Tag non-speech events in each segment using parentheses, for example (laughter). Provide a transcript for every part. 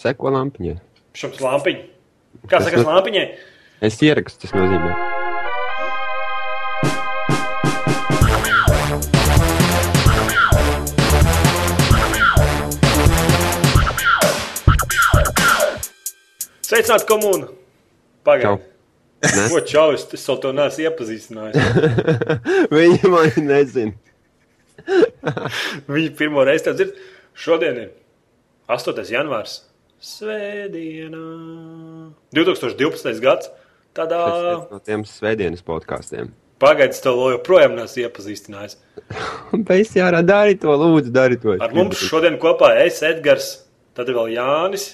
Seko lampiņai. Šoks lampiņa. Kā saka, lampiņai? Es ierakstu, tas nozīmē. (laughs) Sveicināt komunu! Čau. Pagaidām! Ne? Ko čau, es, es vēl to neesmu iepazīstinājis. Viņa man nezina. Viņi pirmo reizi tev dzird. Šodien ir 8. janvārs. Svētdiena. 2012. gads. Tādā Tas ir viens no tiem svētdienas (laughs) podkāstiem. pagaidā tev vēl joprojām neesmu iepazīstinājis. Beigās jārā, dari to, lūdzu, dari to. Ar mums šodien kopā es, Edgars, tad ir vēl Jānis.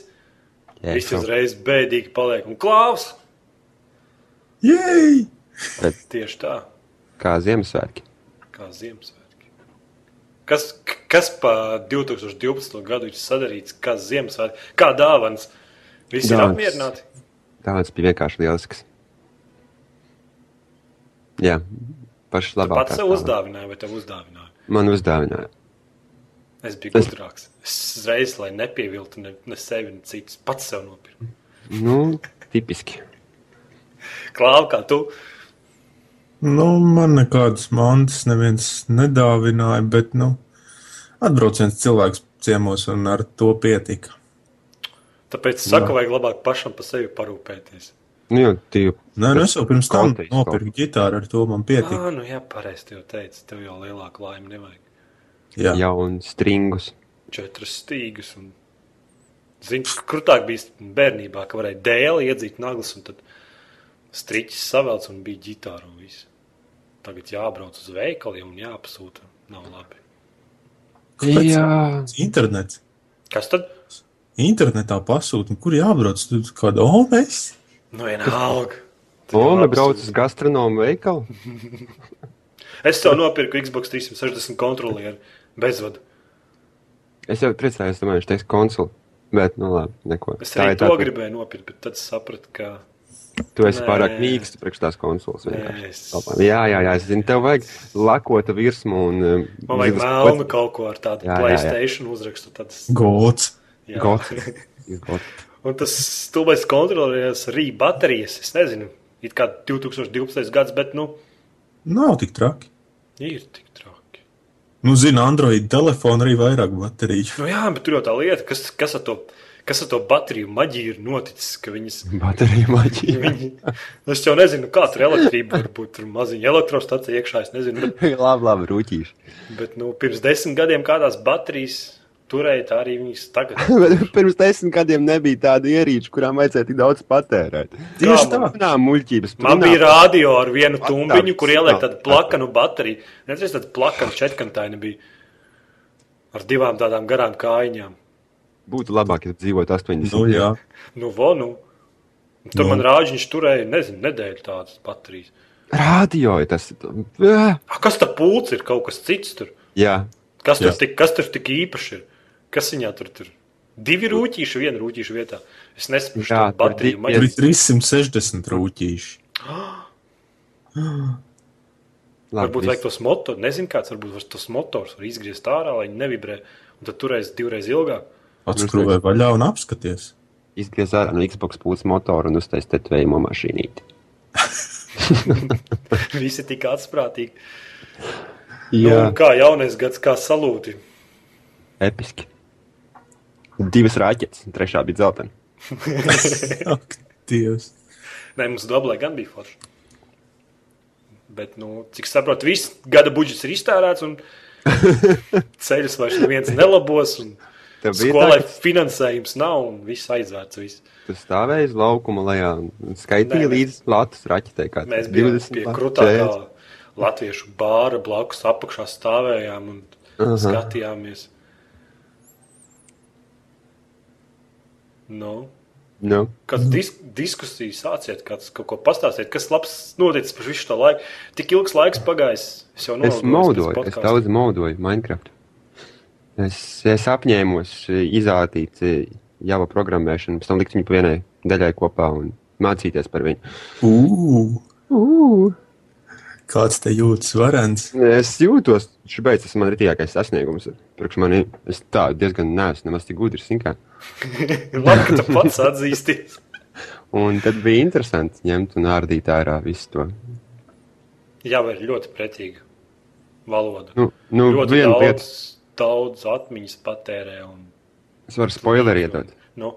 Viņš ir. uzreiz bēdīgi paliek un klaus. Jēj! Tieši tā, Kā Ziemassvētki. kā Ziemassvētki. Kas, k- kas pa 2012. gadu ir sadarīts, kā Ziemassvētki, kā dāvāns? Visi ir Dāvans. apmierināti. Tāds bija vienkārši lielisks. Jā, pašs Pats labākais. sev uzdāvināja, vai tev uzdāvināja? Man uzdāvināja. Es biju Es- gudrāks. Es uzreiz, lai nepieviltu ne, ne sevi, ne citus, pats sev nopirku. Nu, tipiski. Klāv, kā tu. Nu, man nekādas mantas neviens nedāvināja, bet, nu, atbrauciens cilvēks ciemos un ar to pietika. Tāpēc es saku, vajag labāk pašam par sevi parūpēties. Nu, jau tīv, Nē, nu, es jau pirms tam Konteksts kaut. nopirku ģitāru, ar to man pietika. Ah, nu jā, pareizi tev teicu, tev jau lielāku laimi nevajag. Jā, jau un stringus. četras stīgas. Un... Zini, krūtāk bija bērnībā, ka varēja dēli iedzīt naglas, un tad striķis savelc un bija ģitāra un viss. Tagad jābrauc uz veikaliem un jāapsūta. Nav labi. Kāpēc? Jā, internets. Kas tad? Internetā pasūta, kur jābrauc, tur kāda omes. Nu, (laughs) vienalga. Tad jau Lona apsūta. brauc uz gastronomu veikalu. Es tev nopirku Xbox 360 kontrolieri bezvadu. Es jau priecājos, domāju, viņš teiks konsuli. Bet, nu labi, neko. Es arī to tāpēc- gribēju nopirkt, bet tad sapratu, ka Tu esi Nē. pārāk mīksts priekš tās konsoles. vienkārši. es- Jā, jā, jā, es zinu, tev vajag lakota virsmu un um, man vajag zivs melnu kaut ko ar tādu Jā, jā, jā. Playstation uzrakstu. Tad, Gods. jā. (laughs) Gods. izgot. Un tas stulbais kontrolieris arī baterijas. Es nezinu, it kā 2012. gads, bet nu, Nav tik traki. ir tik traki. Nu, zina, Android telefona arī vairāk bateriju. Nu, jā, bet tur jau tā lieta, kas, kas, ar, to, kas ar to bateriju maģiju ir noticis. ka Viņas, Baterija maģija. viņi, (laughs) es jau nezinu, kā tur elektrība var būt. Tur maziņa elektrostacija iekšā, es nezinu. Bet, (laughs) labi, labi, rūtīši. bet nu, pirms desmit gadiem kādās baterijas turēja, tā arī viņas tagad. Bet pirms desmit gadiem nebija tāda ierīča, kurām vajadzēja tik daudz patērēt. Tieši man- tā. Nā, muļķības. Man Runā. bija rādio ar vienu Atnāk, tumbiņu, kur ielikt tādu atnāk. plakanu bateriju. Nezinu, tāda plakana četrkantaini bija. Ar divām tādām garām kājiņām. Būtu labāk, ja dzīvot 80. Nu, jā. Nu, vonu. Tur Nu. nu. man rāģiņš turēja, nezinu, nedēļu tādas baterijas. Radio ir tas. Ā, A, kas tas pūlis ir? Kaut kas cits tur. Jā, Kas tur, Jā. tik, kas tur tik īpašs ir? Kas viņā tur tur? Divi rūtīši, viena rūtīša vietā. Es nesaprotu, Jā, kāda ir tur baterija. divi- Tur maģi- ir 360 rūtīši. labi. Varbūt viss. vajag tos motors, nezinu, kāds varbūt var tos motors var izgriezt ārā, lai viņi nevibrē. Un tad turēs divreiz ilgāk. Atskrūvē vaļā un apskaties. Izgriez ārā no Xbox pūles motora un uztais tetvējumu mašīnīti. (laughs) Visi tik atsprātīgi. Nu, Jā, un kā jaunais gads, kā salūti. episki. Divas raķetes, un trešā bija dzeltena. Ak, Dievs. Nē, mums dablē gan bija forši. Bet, nu, cik saprotu, viss gada budžets ir iztērēts, (laughs) un ceļus vairs neviens nelabos, un Tev bija tā, skolai ka finansējums nav, un viss aizvērts. Viss. Tu stāvēji uz laukuma lejā un skaitīji Nē, mēs- līdz Latvijas raķetē. kā Mēs tas bijām 20 pie lati- krūtākā 40. latviešu bāra blakus apakšā stāvējām un Aha. skatījāmies. Nu, Nu, Kāds disk, diskusijas sāciet, kāds kaut ko pastāstiet, kas labs noticis par visu šo laiku. Tik ilgs laiks pagājis. Es jau es noraugos pēc maudoju, es podcasta. daudz maudoju Minecraft. Es, es apņēmos e, izrādīt e, Java programmēšanu, pēc tam likt viņu pa vienai daļai kopā un mācīties par viņu. Ugh, Ū, Kāds te jūtas varens? Es jūtos, šobrīd tas man ir tiekais sasniegums. Priekš manis es tā diezgan neesmu, nemaz tik gudrs. zini kā. (laughs) Labi, ka tu pats atzīsties. Un tad bija interesanti ņemt un ārdīt ārā visu to. Jā, vai ir ļoti pretīga valoda. Nu, nu ļoti viena daudz, lieta, daudz atmiņas patērē. Un, es varu spoileri iedot. nu,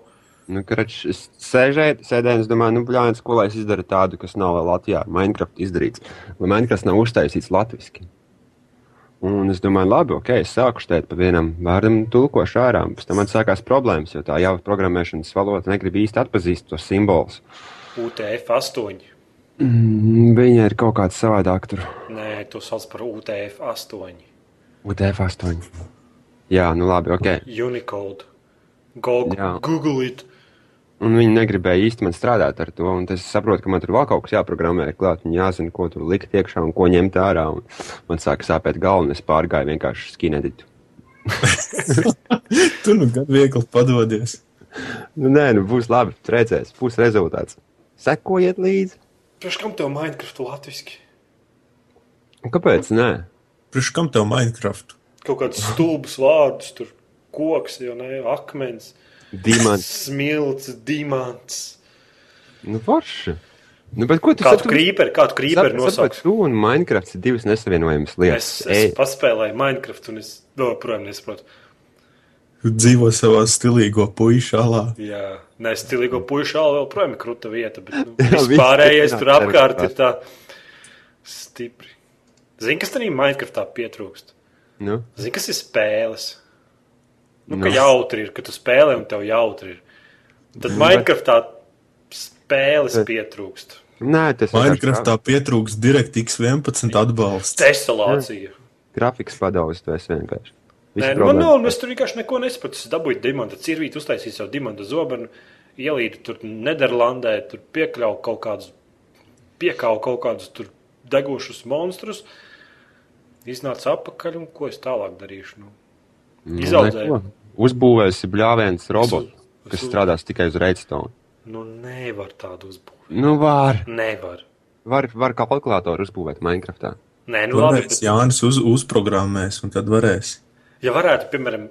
Nu, karač, es sēžēju, sēdēju, es domāju, nu, blāņas, ko lai es izdaru tādu, kas nav vēl Latvijā, Minecraft izdarīts, lai Minecraft nav uztaisīts latviešu. Un es domāju, labi, ok, es sāku šeit pa vienam vārdam, tulkošu ārā. Pēc tam man sākās problēmas, jo tā jau programmēšanas valoda negrib īsti atpazīt tos simbolus. UTF-8. Mm, Viņa ir kaut kāda savādāka tur. Nē, to sauc par UTF-8. UTF-8. Jā, nu labi, ok. Unicode. Go, Jā. Google it. Un viņi negribēja īsti man strādāt ar to. un tad Es saprotu, ka man tur vēl kaut kas jāprogrammē, klāt, un jāzina, ko tur likt iekšā un ko ņemt ārā. Un man sāka sāpēt galva, un es pārgāju vienkārši uz skinēditu. Tu nu gan viegli padodies. Nu, nē, nu būs labi, tur redzēs, būs rezultāts. Sekojiet līdzi. Priekš kam tev Minecraft latviski? Un Kāpēc? Nē, Priekš kam tev Minecraft? Kaut kādus stulbus vārdus, tur koks, jau ne, akmens, Dīmans, smilts, dimants. nu forši. Nu, bet ko tu Kādu krīperi, kādu krīperi Tāpat nosauks? tu un Minecraft ir divas nesavienojamas Es, lietas. es Ej, paspēlēju Minecraft, un es joprojām nesaprotu. Tu dzīvo savā stilīgo puīšu alā. Jā, nē, stilīgo puiku vēl joprojām ir krūta vieta, bet nu, Jā, viss viss pārējais turpināt tur apkārt ceru, ir tā stipri. Zini, kas tam Minecraftā pietrūkst? nu, Zini, kas ir spēles? Nu, ka Nu. jautri ir, ka tu spēlē un tev jautri ir. Tad Minecraftā spēles pietrūkst. nē, tas ir Minecraftā pietrūks DirectX 11 atbalsts. Tesolācija. grafiks padaudzis, tu esi vienkārši. Nē, Visi nu, man problēmas. nav, un es tur vienkārši neko nesapratu. Es dabūju dimanta cirvīti, uztaisīju savu dimanta zobenu, ielīdu tur Nederlandē, tur piekļauju kaut kādus, piekāvu kaut kādus tur degošus monstrus. Iznāca apakaļ, un ko es tālāk darīšu? Nu, Nu, Izaudzēja. neko. Uzbūvēsi bļāviens robotu, Es- kas es- strādās tikai uz redstone. nu nevar tādu uzbūvēt. Nu, var, Nevar. var, var kā kalkulātoru uzbūvēt Minecraftā. Nē, nu labi. Varēs Bet, Jānis uz, uzprogrammēs, un tad varēs. ja varētu, piemēram,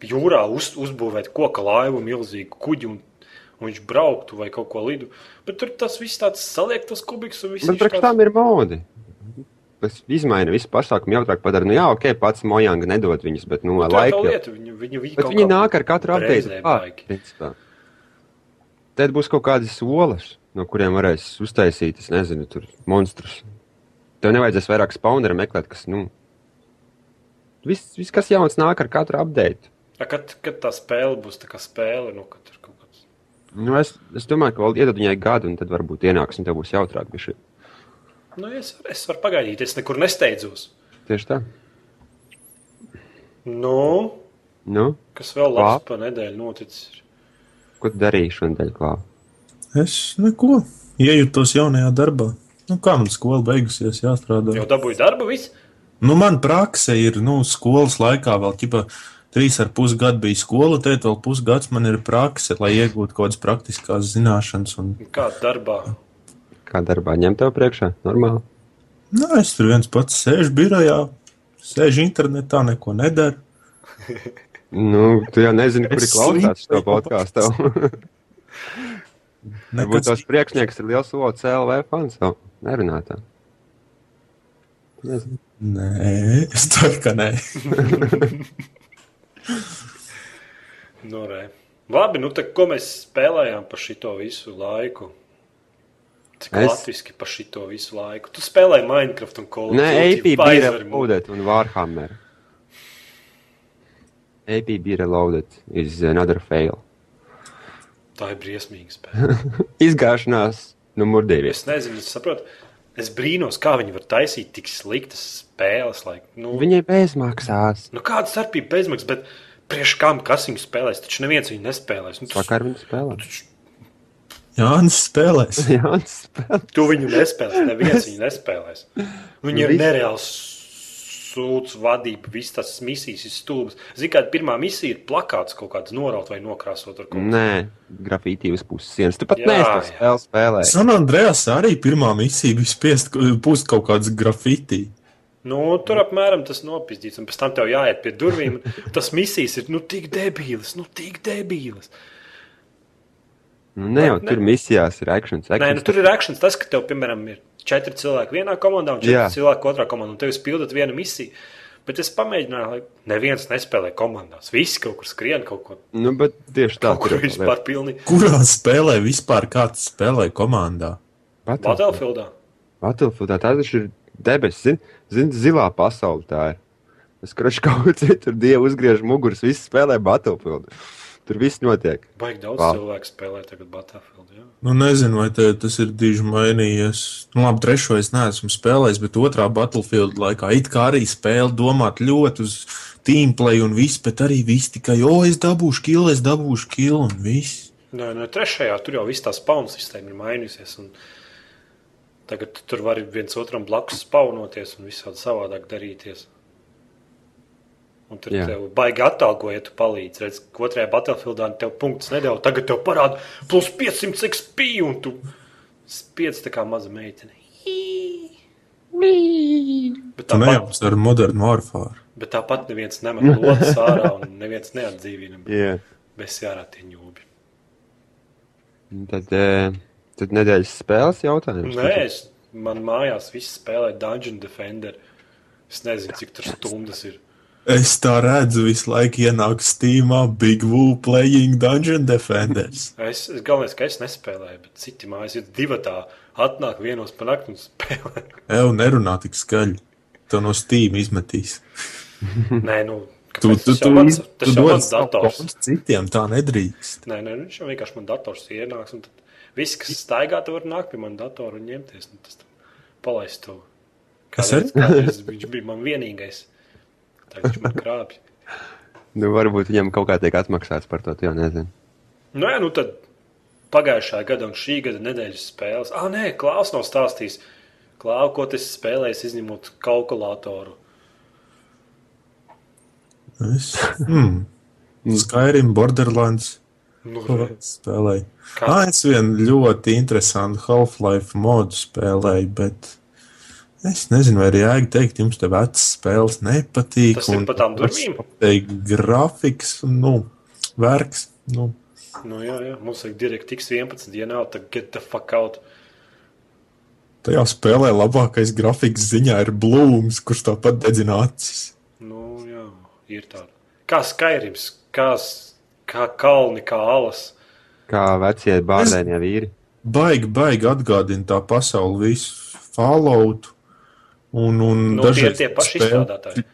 jūrā uz, uzbūvēt koka laivu, milzīgu kuģi, un, un viņš brauktu vai kaut ko lidu, bet tur tas viss tāds saliektas kubiks un viss Bet viņš priekš tāds. tam ir modi. Tas izmaina visu pasākumu, jautrāk padara. Nu, jā, ok, pats mojanga nedod viņus, bet, nu, Tā ir tā laika. lieta. Viņi, viņi, viņi, Bet kaut viņi kā nāk ar katru bremzē baigi. apgājumu. Tad būs kaut kādas olas, no kuriem varēs uztaisīt, es nezinu, tur monstrus. Tev nevajadzēs vairāk spawnera meklēt, kas, nu, viss, viss kas jauns nāk ar katru apgājumu. Tā, Kad, kad tā spēle būs tā kā spēle, nu, kad tur kaut kas Nu, es, es domāju, ka vēl iedod viņai gadu, un tad varbūt ienāks, un tev būs jautrāk. Biši. nu, es, es varu pagaidīt, es nekur nesteidzos. Tieši tā. Nu, Nu, kas vēl labs Lā. pa nedēļu noticis? ir? ko tu darīji šodien, Klāra? Es neko. Iejutos jaunajā darbā. Nu, kā man skola beigusies, jāstrādā. Jau dabūju darbu, viss. Nu, man prakse ir, nu, skolas laikā vēl ķipa trīs ar pus gadu bija skola, tēt vēl pusgads man ir prakse, lai iegūtu kaut kādas praktiskās zināšanas. Un... Kā darbā? Kā darbā ņemt tev priekšā? Normāli. Nā, Nu, es tur viens pats sēžu birojā, sēžu internetā, neko nedaru. Nu, tu jau nezini, kuri Es klausās slimu. šo podkāstu. (laughs) Varbūt Nekas... tās priekšnieks ir liels OCLV fans. vēl. Nerunā tā. Nezinu. Nē, es ceru, ka nē. Nu, re. Labi, nu, tad ko mēs spēlējām pa šito visu laiku? Cik es... Es- latviski pa šito visu laiku? Tu spēlēji Minecraft un Call of Nē, Duty, AP bija Pfizer, reloaded un Warhammer. AP bija reloaded is another fail. Tā ir briesmīga spēle. (laughs) Izgāšanās numur divi. Es nezinu, es saprotu. Es brīnos, kā viņi var taisīt tik sliktas spēles. Lai, nu, viņi... Viņai bezmaksās. nu, kāda starpība bezmaksas, bet priekš kam kas viņu spēlēs? Taču neviens viņu nespēlēs. Nu, tu, Vakar viņa spēlēja. Jānis spēlēs. Jā, un spēlē. tu viņu nespēlēsi, neviens viņu nespēlēs. Viņi ir Viss. nereāli sūds, vadība, visas tās misijas ir stulbas. Zini, kāda pirmā misija ir plakāts kaut kāds noraut vai nokrāsot ar kaut ko. Nē, grafitī uz puses sienas. Tu pat Jā, neesi jā. spēlējis spēlē. San Andrejas arī pirmā misija bija spiest eh, pūst kaut kādas grafitī. Nu, Mm. tur apmēram tas nopietns, un pēc tam tev jāiet pie durvīm. un Tas misijas ir nu tik debīlas, nu tik debīlas. Nu, ne jau Ne. tur misijās ir akcents. Nē, nu, tur ir akcents. Tas, ka tev, piemēram, ir četri cilvēki vienā komandā un četri Jā. Jā. cilvēki otrā komandā, un tev izpildot vienu misiju. Bet es pamēģināju, lai neviens nespēlē komandās. Visi kaut kur skrien, kaut ko Nu, bet tieši tā, tādu vispār pilni. Kurā spēlē vispār kāds spēlē komandā? Battlefield. Battlefieldā. Battlefieldā tā taču ir debesis. Zini, zin, zilā pasaule tā ir. Es krašu (laughs) kaut kur citur, dievu uzgriež muguras, visi spēlē Battlefield. Tur viss notiek. Baigi daudz Vā. Vā. cilvēku spēlē tagad Battlefieldā. jā. Nu, nezinu, vai te, tas ir diži mainījies. Nu, labi, trešo es neesmu spēlējis, bet otrā Battlefield laikā it kā arī spēle domāt ļoti uz teamplay un viss, bet arī viss tikai, o, es dabūšu kilu, es dabūšu kilu un viss. Nē, nē, trešajā tur jau viss tā spaunu sistēma ir mainījusies. Un... Tagad tu tur var viens otram blakus spaunoties un visādi savādāk darīties. Un tur Jā. Jā. tev baigi atalgo, ja tu palīdzi. Redz, ka otrajā Battlefieldā tev punktus nedēļu, tagad tev parāda plus 500 XP un tu spiedz tā kā maza meitene. Bet Tā tāpat, nejauks ar Modern Warfare. bet tāpat neviens nemet lodas ārā un neviens neatdzīvina. Yeah. Mēs jārā tie ņūbi. Tad, eh, tad nedēļas spēles jautājums. Nē, es, man mājās viss spēlē Dungeon Defender. Es nezinu, cik tur stundas ir. Es tā redzu, visu laiku ienāk Steamā Big Woo playing Dungeon (laughs) Defenders. Es, es galvenais, ka es nespēlēju, bet citi mājās ir divi tā. Atnāk vienos panākt un spēlē. (laughs) Eju nerunā tik skaļi. To no Steam izmetīs. Nē, nu, Tu, kāpēc? tu, Tas tu, jau mans- tu tas jau dod mans savu dators. kontu citiem, tā nedrīkst. Nē, nē, viņš jau vienkārši man dators ienāks. un tad Visi, kas staigā, tur var nākt pie manas datora un ņemties. Un tas palaist to. Kas Kādreiz- (laughs) kādreiz Viņš bija man vienīgais. Tagad viņš man krāpj. Nu, varbūt viņam kaut kā tiek atmaksāts par to, tu jau nezinu. Nu, jā, nu tad pagājušā gada un šī gada nedēļas spēles. Ah, nē, Klaus nav stāstījis. Klau, ko tas spēlējis, izņemot kalkulātoru. Es, hmm. Skyrim, Borderlands. Nu, Ko vēl re. spēlēju? Kā? Ah, es vienu ļoti interesantu Half-Life modu spēlēju, bet es nezinu, vai ir jēga teikt, jums te vecas spēles nepatīk. Tas ir un pa tām tas durvīm? patīk Grafiks, nu, vergs. Nu. nu, jā, jā, mums vajag direkt tiks 11 dienā, tad get the fuck out. Tajā spēlē labākais grafiks ziņā ir blūms, kurš tāpat dedzina acis. Nu, jā, ir tāda. Kā skaidrs, kā, s- kā kalni, kā alas. Kā vecie bārdainie vīri. Baigi, baigi atgādina tā pasauli visu Fallout. Un, un Nu, tie ir dažreiz tie tā paši spēle- izstrādātāji.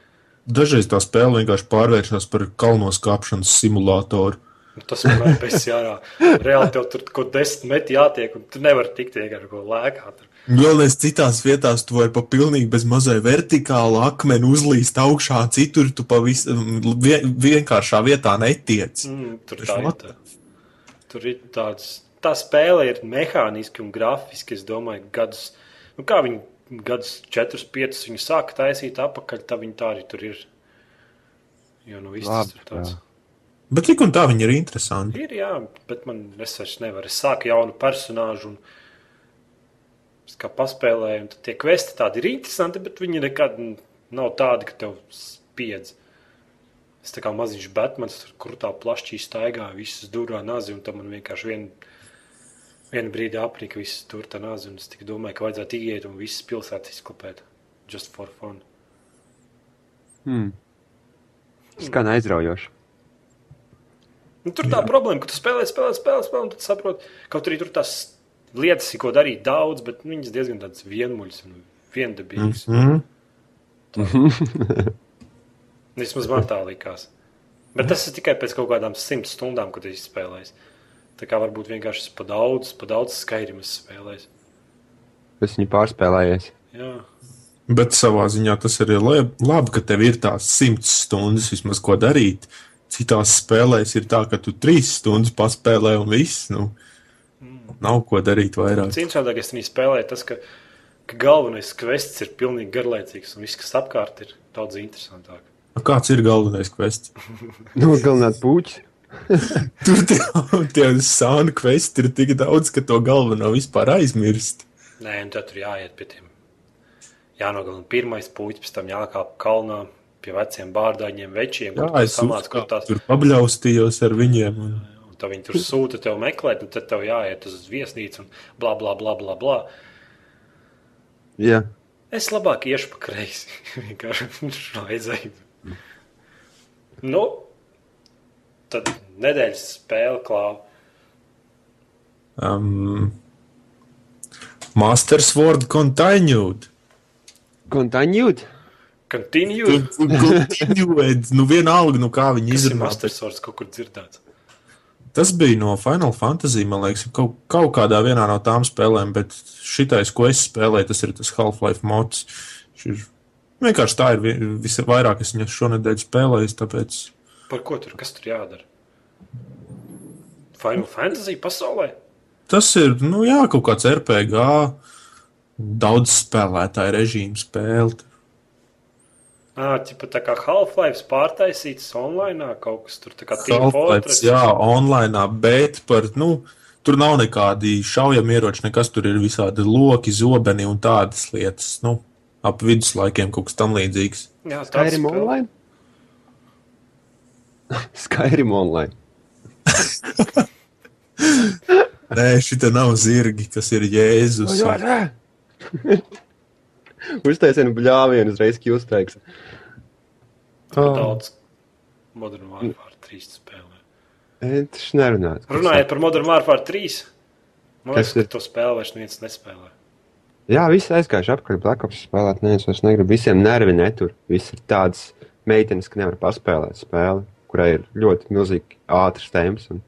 Dažreiz tā spēle vienkārši pārvēršas par kalnos kāpšanas simulātoru. Nu, Tas man ir bijis jārā. Reāli tev tur kaut ko desmit metri jātiek, un tu nevari tikt vienkārši kaut ko lēkāt. Galvenais citās vietās tu vari pa pilnīgi bez mazai vertikāla akmeni uzlīst augšā, citur tu pavisam vienkāršā vietā netiec. Mm, tur Taču tā ir. what Tā. Tur ir tāds, tā spēle ir mehāniski un grafiski. Es domāju, gadus, nu kā viņi gadus 4, 5 viņi sāka taisīt apakaļ, tā viņi tā arī tur ir. Jo nu viss tas Labi, tur tāds. jā. Bet tik un tā viņi ir interesanti. Ir jā, bet man es vairs nevaru. Es sāku jaunu personāžu un es kā paspēlēju, un tad tie kvesti tādi ir interesanti, bet viņi nekad n- nav tādi, ka tev spiedz. Es tā kā maziņš Batmans tur krutā plašķī staigāju, visas durā nazi, un tam man vienkārši vien, vienu brīdi aprīka visas tur tā nazi, un es tik domāju, ka vajadzētu iet un visas pilsētas izklapēt. Just for fun. Hmm. Skan aizraujoši. Nu, tur tā problēma, ka tu spēlē, spēlē, spēlē, spēlē un tad saproti, kaut arī tur tās lietas ir ko darīt daudz, bet nu, viņas diezgan tādas vienmuļas un viendabīgas. Mm. Mm? Vismaz man tā likās. Bet tas ir tikai pēc kaut kādām simt stundām, kad es spēlēju. Tā kā varbūt vienkārši es pa daudz, pa daudz skaidrības spēlēju. Es viņu pārspēlējies. Jā, Bet savā ziņā tas arī ir lab- labi, ka tev ir tās simts stundas vismaz ko darīt. Citās spēlēs ir tā, ka tu trīs stundas paspēlē un viss. Nu, nav ko darīt vairāk. interesantākais tajā spēlē ir tas, ka ka galvenais kvests ir pilnīgi garlaicīgs, un viss, kas apkārt ir, daudz interesantāk. Kāds ir galvenais kvests? (laughs) (laughs) Nogalināt puķi. Tur tie, tie sānu kvesti ir tik daudz, ka to galveno vispār aizmirst. Nē, un tad tur jāiet pie tiem. Jānogalina pirmais puķis, pēc tam jākāp kalnā pie veciem bārdaņiem, večiem. Jā, kur tu es samāc, uzkā- kur tās- tur pabļaustījos ar viņiem. Un... Un tad viņi tur sūta tev meklēt, un tad tev jāiet uz viesnīcu un bla bla bla bla. bla. Jā, Es labāk iešu pa kreisi. (laughs) Vienkārši no aizēju. Nu, tad nedēļas spēle klāva. Um, Masters Word Continued. kontaņģūt. Continue. (laughs) Continued. Nu, vienalga, nu kā viņi Tas ir izrunā. Masters Swords kaut kur dzirdēts. Tas bija no Final Fantasy, man liekas, kaut, kaut kādā vienā no tām spēlēm, bet šitais, ko es spēlēju, tas ir tas Half-Life mods. Šis Ir, vienkārši tā ir vi- visvairāk, es viņu šonadēļ spēlēju, tāpēc Par ko tur, kas tur jādara? Final Fantasy pasaulē? tas ir, nu jā, kaut kāds RPG, daudz spēlētāju režīmu spēle. Ā, tipa tā kā Half-Life pārtaisīts online, kaut kas tur tā kā Team Half-Life, Fortress. jā, online, bet par, nu, tur nav nekādi šaujamieroči, nekas tur ir visādi loki, zobeni un tādas lietas, nu, ap viduslaikiem kaut kas tam līdzīgs. jā tā ir Skyrim online? (laughs) Skyrim online. Nē, šī nav zirgi, tas ir Jēzus. (laughs) Uztaisienu bļāvienu, uzreiz kļūst teiks. Daudz Modern Warfare 3 spēlē. Tas nerunāts. Runājot par Modern Warfare 3, man Kas liekas, ka ir? to spēli vairs neviens nespēlē. Jā, viss aizgājuši apkārt Black Ops spēlēt. Nē, es vairs negribu. Visiem nervi netur. Viss ir tāds meitenes, ka nevar paspēlēt spēli, kurai ir ļoti milzīgi ātrs temps. un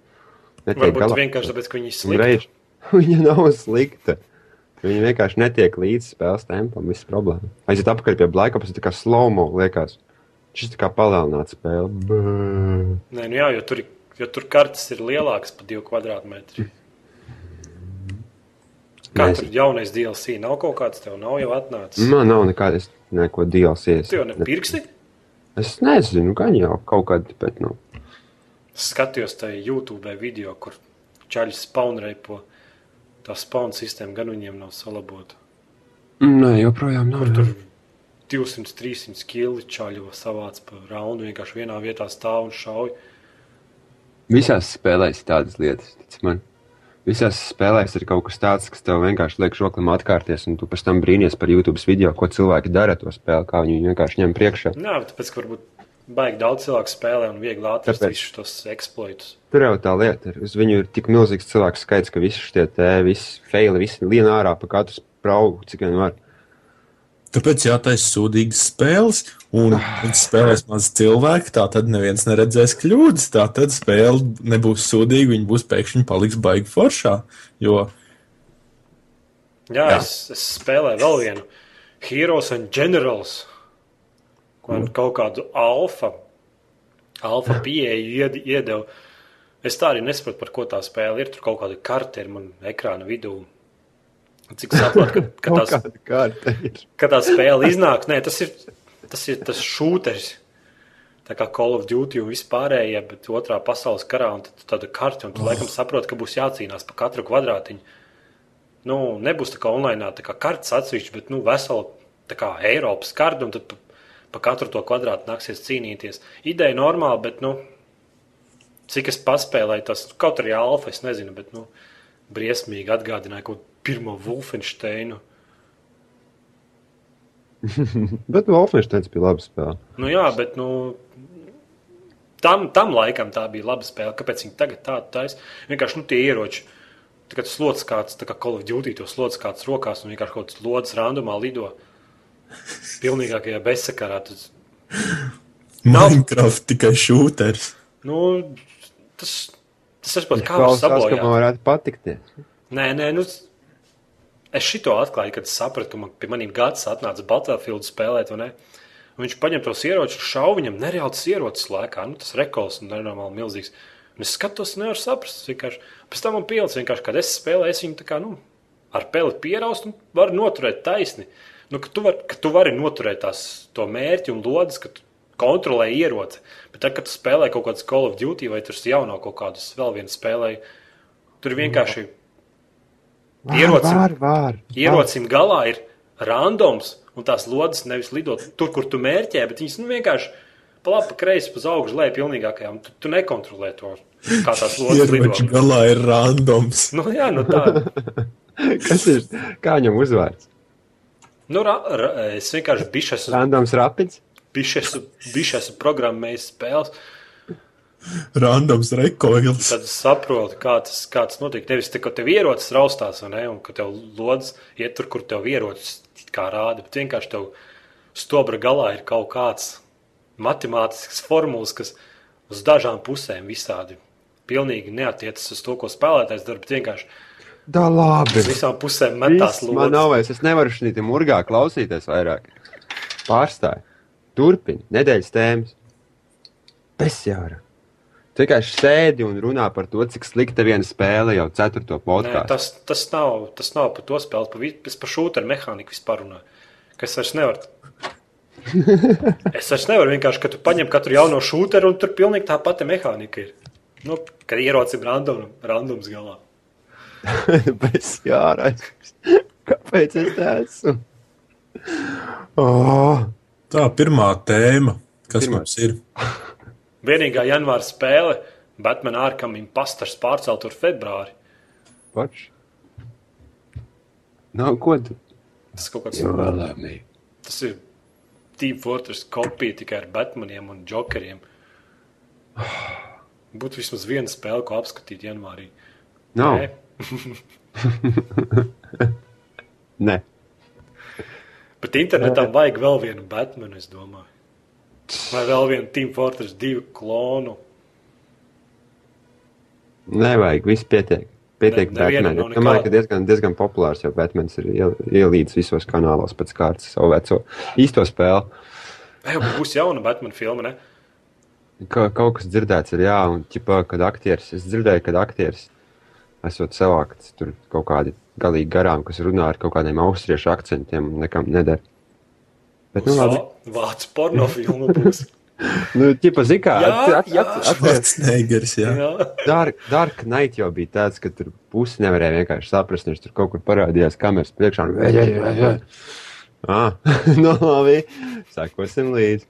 Netiek Varbūt galā. vienkārši tāpēc, ka viņi ir Un slikti. reiž- (laughs) Viņa nav slikta. Viņa vienkārši netiek līdz spēles tempam. Viss problēma. Aiziet apkārt pie Black Ops, tas ir kā slomo liekas. Šis tā kā palēnāts spēle. Bē. Nē, nu jā, jo tur, ir- jo tur kartes ir lielākas par 2 kvadrātmetriem. Kā Mēs- Nu. tur jaunais DLC nav kaut kāds, tev nav jau atnācis. Man nav nekādas, neko DLC. Tu jau nepirksi? Es nezinu, gan jau kaut kādi, bet nu. Es skatījos tajā YouTube video, kur čaļi spaunreipo. Tā spauna sistēma gan viņiem nav salabota. Nē, joprojām nav. Tur 200, 300 kili čaļi savāc pa raundu, vienkārši vienā vietā stāv un šauj. Visās spēlēs ir tādas lietas, tic man. Visās spēlēs ir kaut kas tāds, kas tev vienkārši liek žoklim atkārties, un tu pēc tam brīnies par YouTube video, ko cilvēki dara ar to spēli, kā viņi viņu vienkārši ņem priekšā. Nē, tāpēc, ka varbūt baigi daudz cilvēku spēlē un viegli atrast Tāpēc. Tāpēc. visus tos eksploitus. Tur jau tā lieta ir. Uz viņu ir tik milzīgs cilvēku skaits, ka visi šie te visi feili, visi lien ārā pa katru spraugu, cik vien var. Tāpēc jātaisa sūdīgas spēles, un kad spēlēs maz cilvēku, tā tad neviens neredzēs kļūdas. Tā tad spēle nebūs sūdīga, viņa būs pēkšņi paliks baigi foršā. Jo Jā, Jā. Es, es spēlēju vēl vienu Heroes and Generals, ko man kaut kādu alfa, alfa pieeju ied, iedeva. Es tā arī nesaprotu, par ko tā spēle ir. Tur kaut kāda karte ir man ekrāna vidū. Cik saprotu, (laughs) ka, Nu, ka, Kaut tās, kāda kārta ir. ka tā spēle iznāk, nē, tas ir tas, ir tas šūteris. Tā kā Call of Duty un vispārējie, bet otrā pasaules karā un tad tāda karte, un tu laikam saproti, ka būs jācīnās par katru kvadrātiņu. Nu, nebūs tā kā online, tā kā kartes atsevišķi, bet nu, vesela tā kā Eiropas karta, un tad pa, pa katru to kvadrātu nāksies cīnīties. Ideja normāla, bet nu, cik es paspēlēju, tas kaut arī alfa, es nezinu, bet nu, briesmīgi atgādināja kaut pirmo Wolfensteinu. Bet Wolfensteins bija laba spēle. Nu, jā, bet nu, tam, tam laikam tā bija laba spēle. Kāpēc viņi tagad tādu taisa? Vienkārši nu, tie ieroči. Tā kā tas slodzes kāds, tā kā Call of Duty to slodzes kāds rokās un vienkārši kaut kāds lodziņš randomā lido. Pilnīgākajā bezsakarā. Tas, Nav. Minecraft tikai šūters. nu, tas, tas es pat kā Klausās, uz ka man sabojāju. varētu patikties. Nē, nē, nu, es šito atklāju, kad sapratu, ka man pie maniem gads atnāca Battlefield spēlēt. vai ne? Un Viņš paņem tos ieročus, šauj viņam nereāls ierocis lēkā. Nu, tas rekords ir nenormāli milzīgs. Un es skatos, nevaru saprast. es Vienkārši. Pēc tam man pielicis, vienkārši, kad es spēlēju, es viņu tā kā, nu, ar peli pieraust un var noturēt taisni. Nu, ka, tu var, ka tu vari noturēt tās, to mērķi un lodes, ka tu kontrolē ieroci. Bet tad, kad tu spēlē kaut kādas Call of Duty vai tur jaunā kaut kādas vēl vienas spēlēji, tur vienkārši ierocim, Var, var. ierocim galā ir randoms, un tās lodes nevis lidot tur, kur tu mērķē, bet viņas nu, vienkārši pa labi, pa kreisi, pa augšu, lai pilnīgākajā. un Tu, tu nekontrolē to, kā tās lodes Ieroči lido. galā ir randoms. Nu, jā, nu tā. Kas ir? Kā viņam uzvārds? Nu, ra, ra, es vienkārši bišķi esmu, Randoms rapids. bišķi esmu, bišķi esmu programmējis spēles. Randoms recoils. Tad es saprotu, kā tas, kā tas notiek. Nevis tā, ka tev ierocis raustās, vai ne, un ka tev lodziņš iet tur, kur tev ierocis it kā rāda. Bet vienkārši tev stobra galā ir kaut kāds matemātisks formulas, kas uz dažām pusēm visādi. Pilnīgi neatiecas uz to, ko spēlētājs dara, bet vienkārši Da labi. uz visām pusēm metās Viss, Man nav lodziņā. vairs, es nevaru šī murgā klausīties vairāk. Pārstāj. Turpini nedēļas tēmas. Pesjāra. Tu vienkārši sēdi un runā par to, cik slikta viena spēle jau ceturto podkāstu. Tas, tas, nav, tas nav par to spēli, pa vi- es par šūnu mehāniku vispār runāju. Kas vairs nevar. Es vairs nevaru vienkārši, ka tu paņem katru jauno šūnu, un tur pilnīgi tā pati mehānika ir. Nu, kad ierocim random, randoms galā. (laughs) Pesjāra. Kāpēc es tā esmu? Oh. Tā pirmā tēma, kas Pirmā. pirmā. mums ir. Vienīgā janvāra spēle, Batman ārkam impastars pārcelt uz februāri. Pač. Nav ko tu. Tas kaut kāds Vēlamies. tas ir Team Fortress kopija tikai ar Batmaniem un Jokeriem. Būtu vismaz viena spēle, ko apskatīt janvārī. Nav. Nē. Nē. Bet internetā vajag vēl vienu Batmanu, es domāju. Vai vēl vienu Team Fortress 2 klonu. Nevajag, viss pietiek. Pietiek, Ne- ne, nevienam Batman. nav Es domāju, nekāda. ka diezgan, diezgan populārs jau Batmans ir iel- ielīdzis visos kanālos pēc kārtas savu veco īsto spēli. Vai jau būs jauna Batmana filma? Ne? Ka, kaut kas dzirdēts ir jā, un ķipā, kad aktieris, es dzirdēju, kad aktieris esot savākts tur kaut kādi galīgi garām, kas runā ar kaut kādiem austriešu akcentiem un nekam neder. Bet, nu, Būs labi. vā- Vācu pornofilma (laughs) būs. Nu, ķipa, zikā, Jā, at, at, jā. at, at, at, Švarcneigers, jā. Jā. Dark, Dark Knight jau bija tāds, ka tur pusi nevarēja vienkārši saprast, viņš tur kaut kur parādījās kameras priekšā. Un... (laughs) "Ej, ej, ej, ej." Ah, (laughs) nu, labi, sekosim līdzi.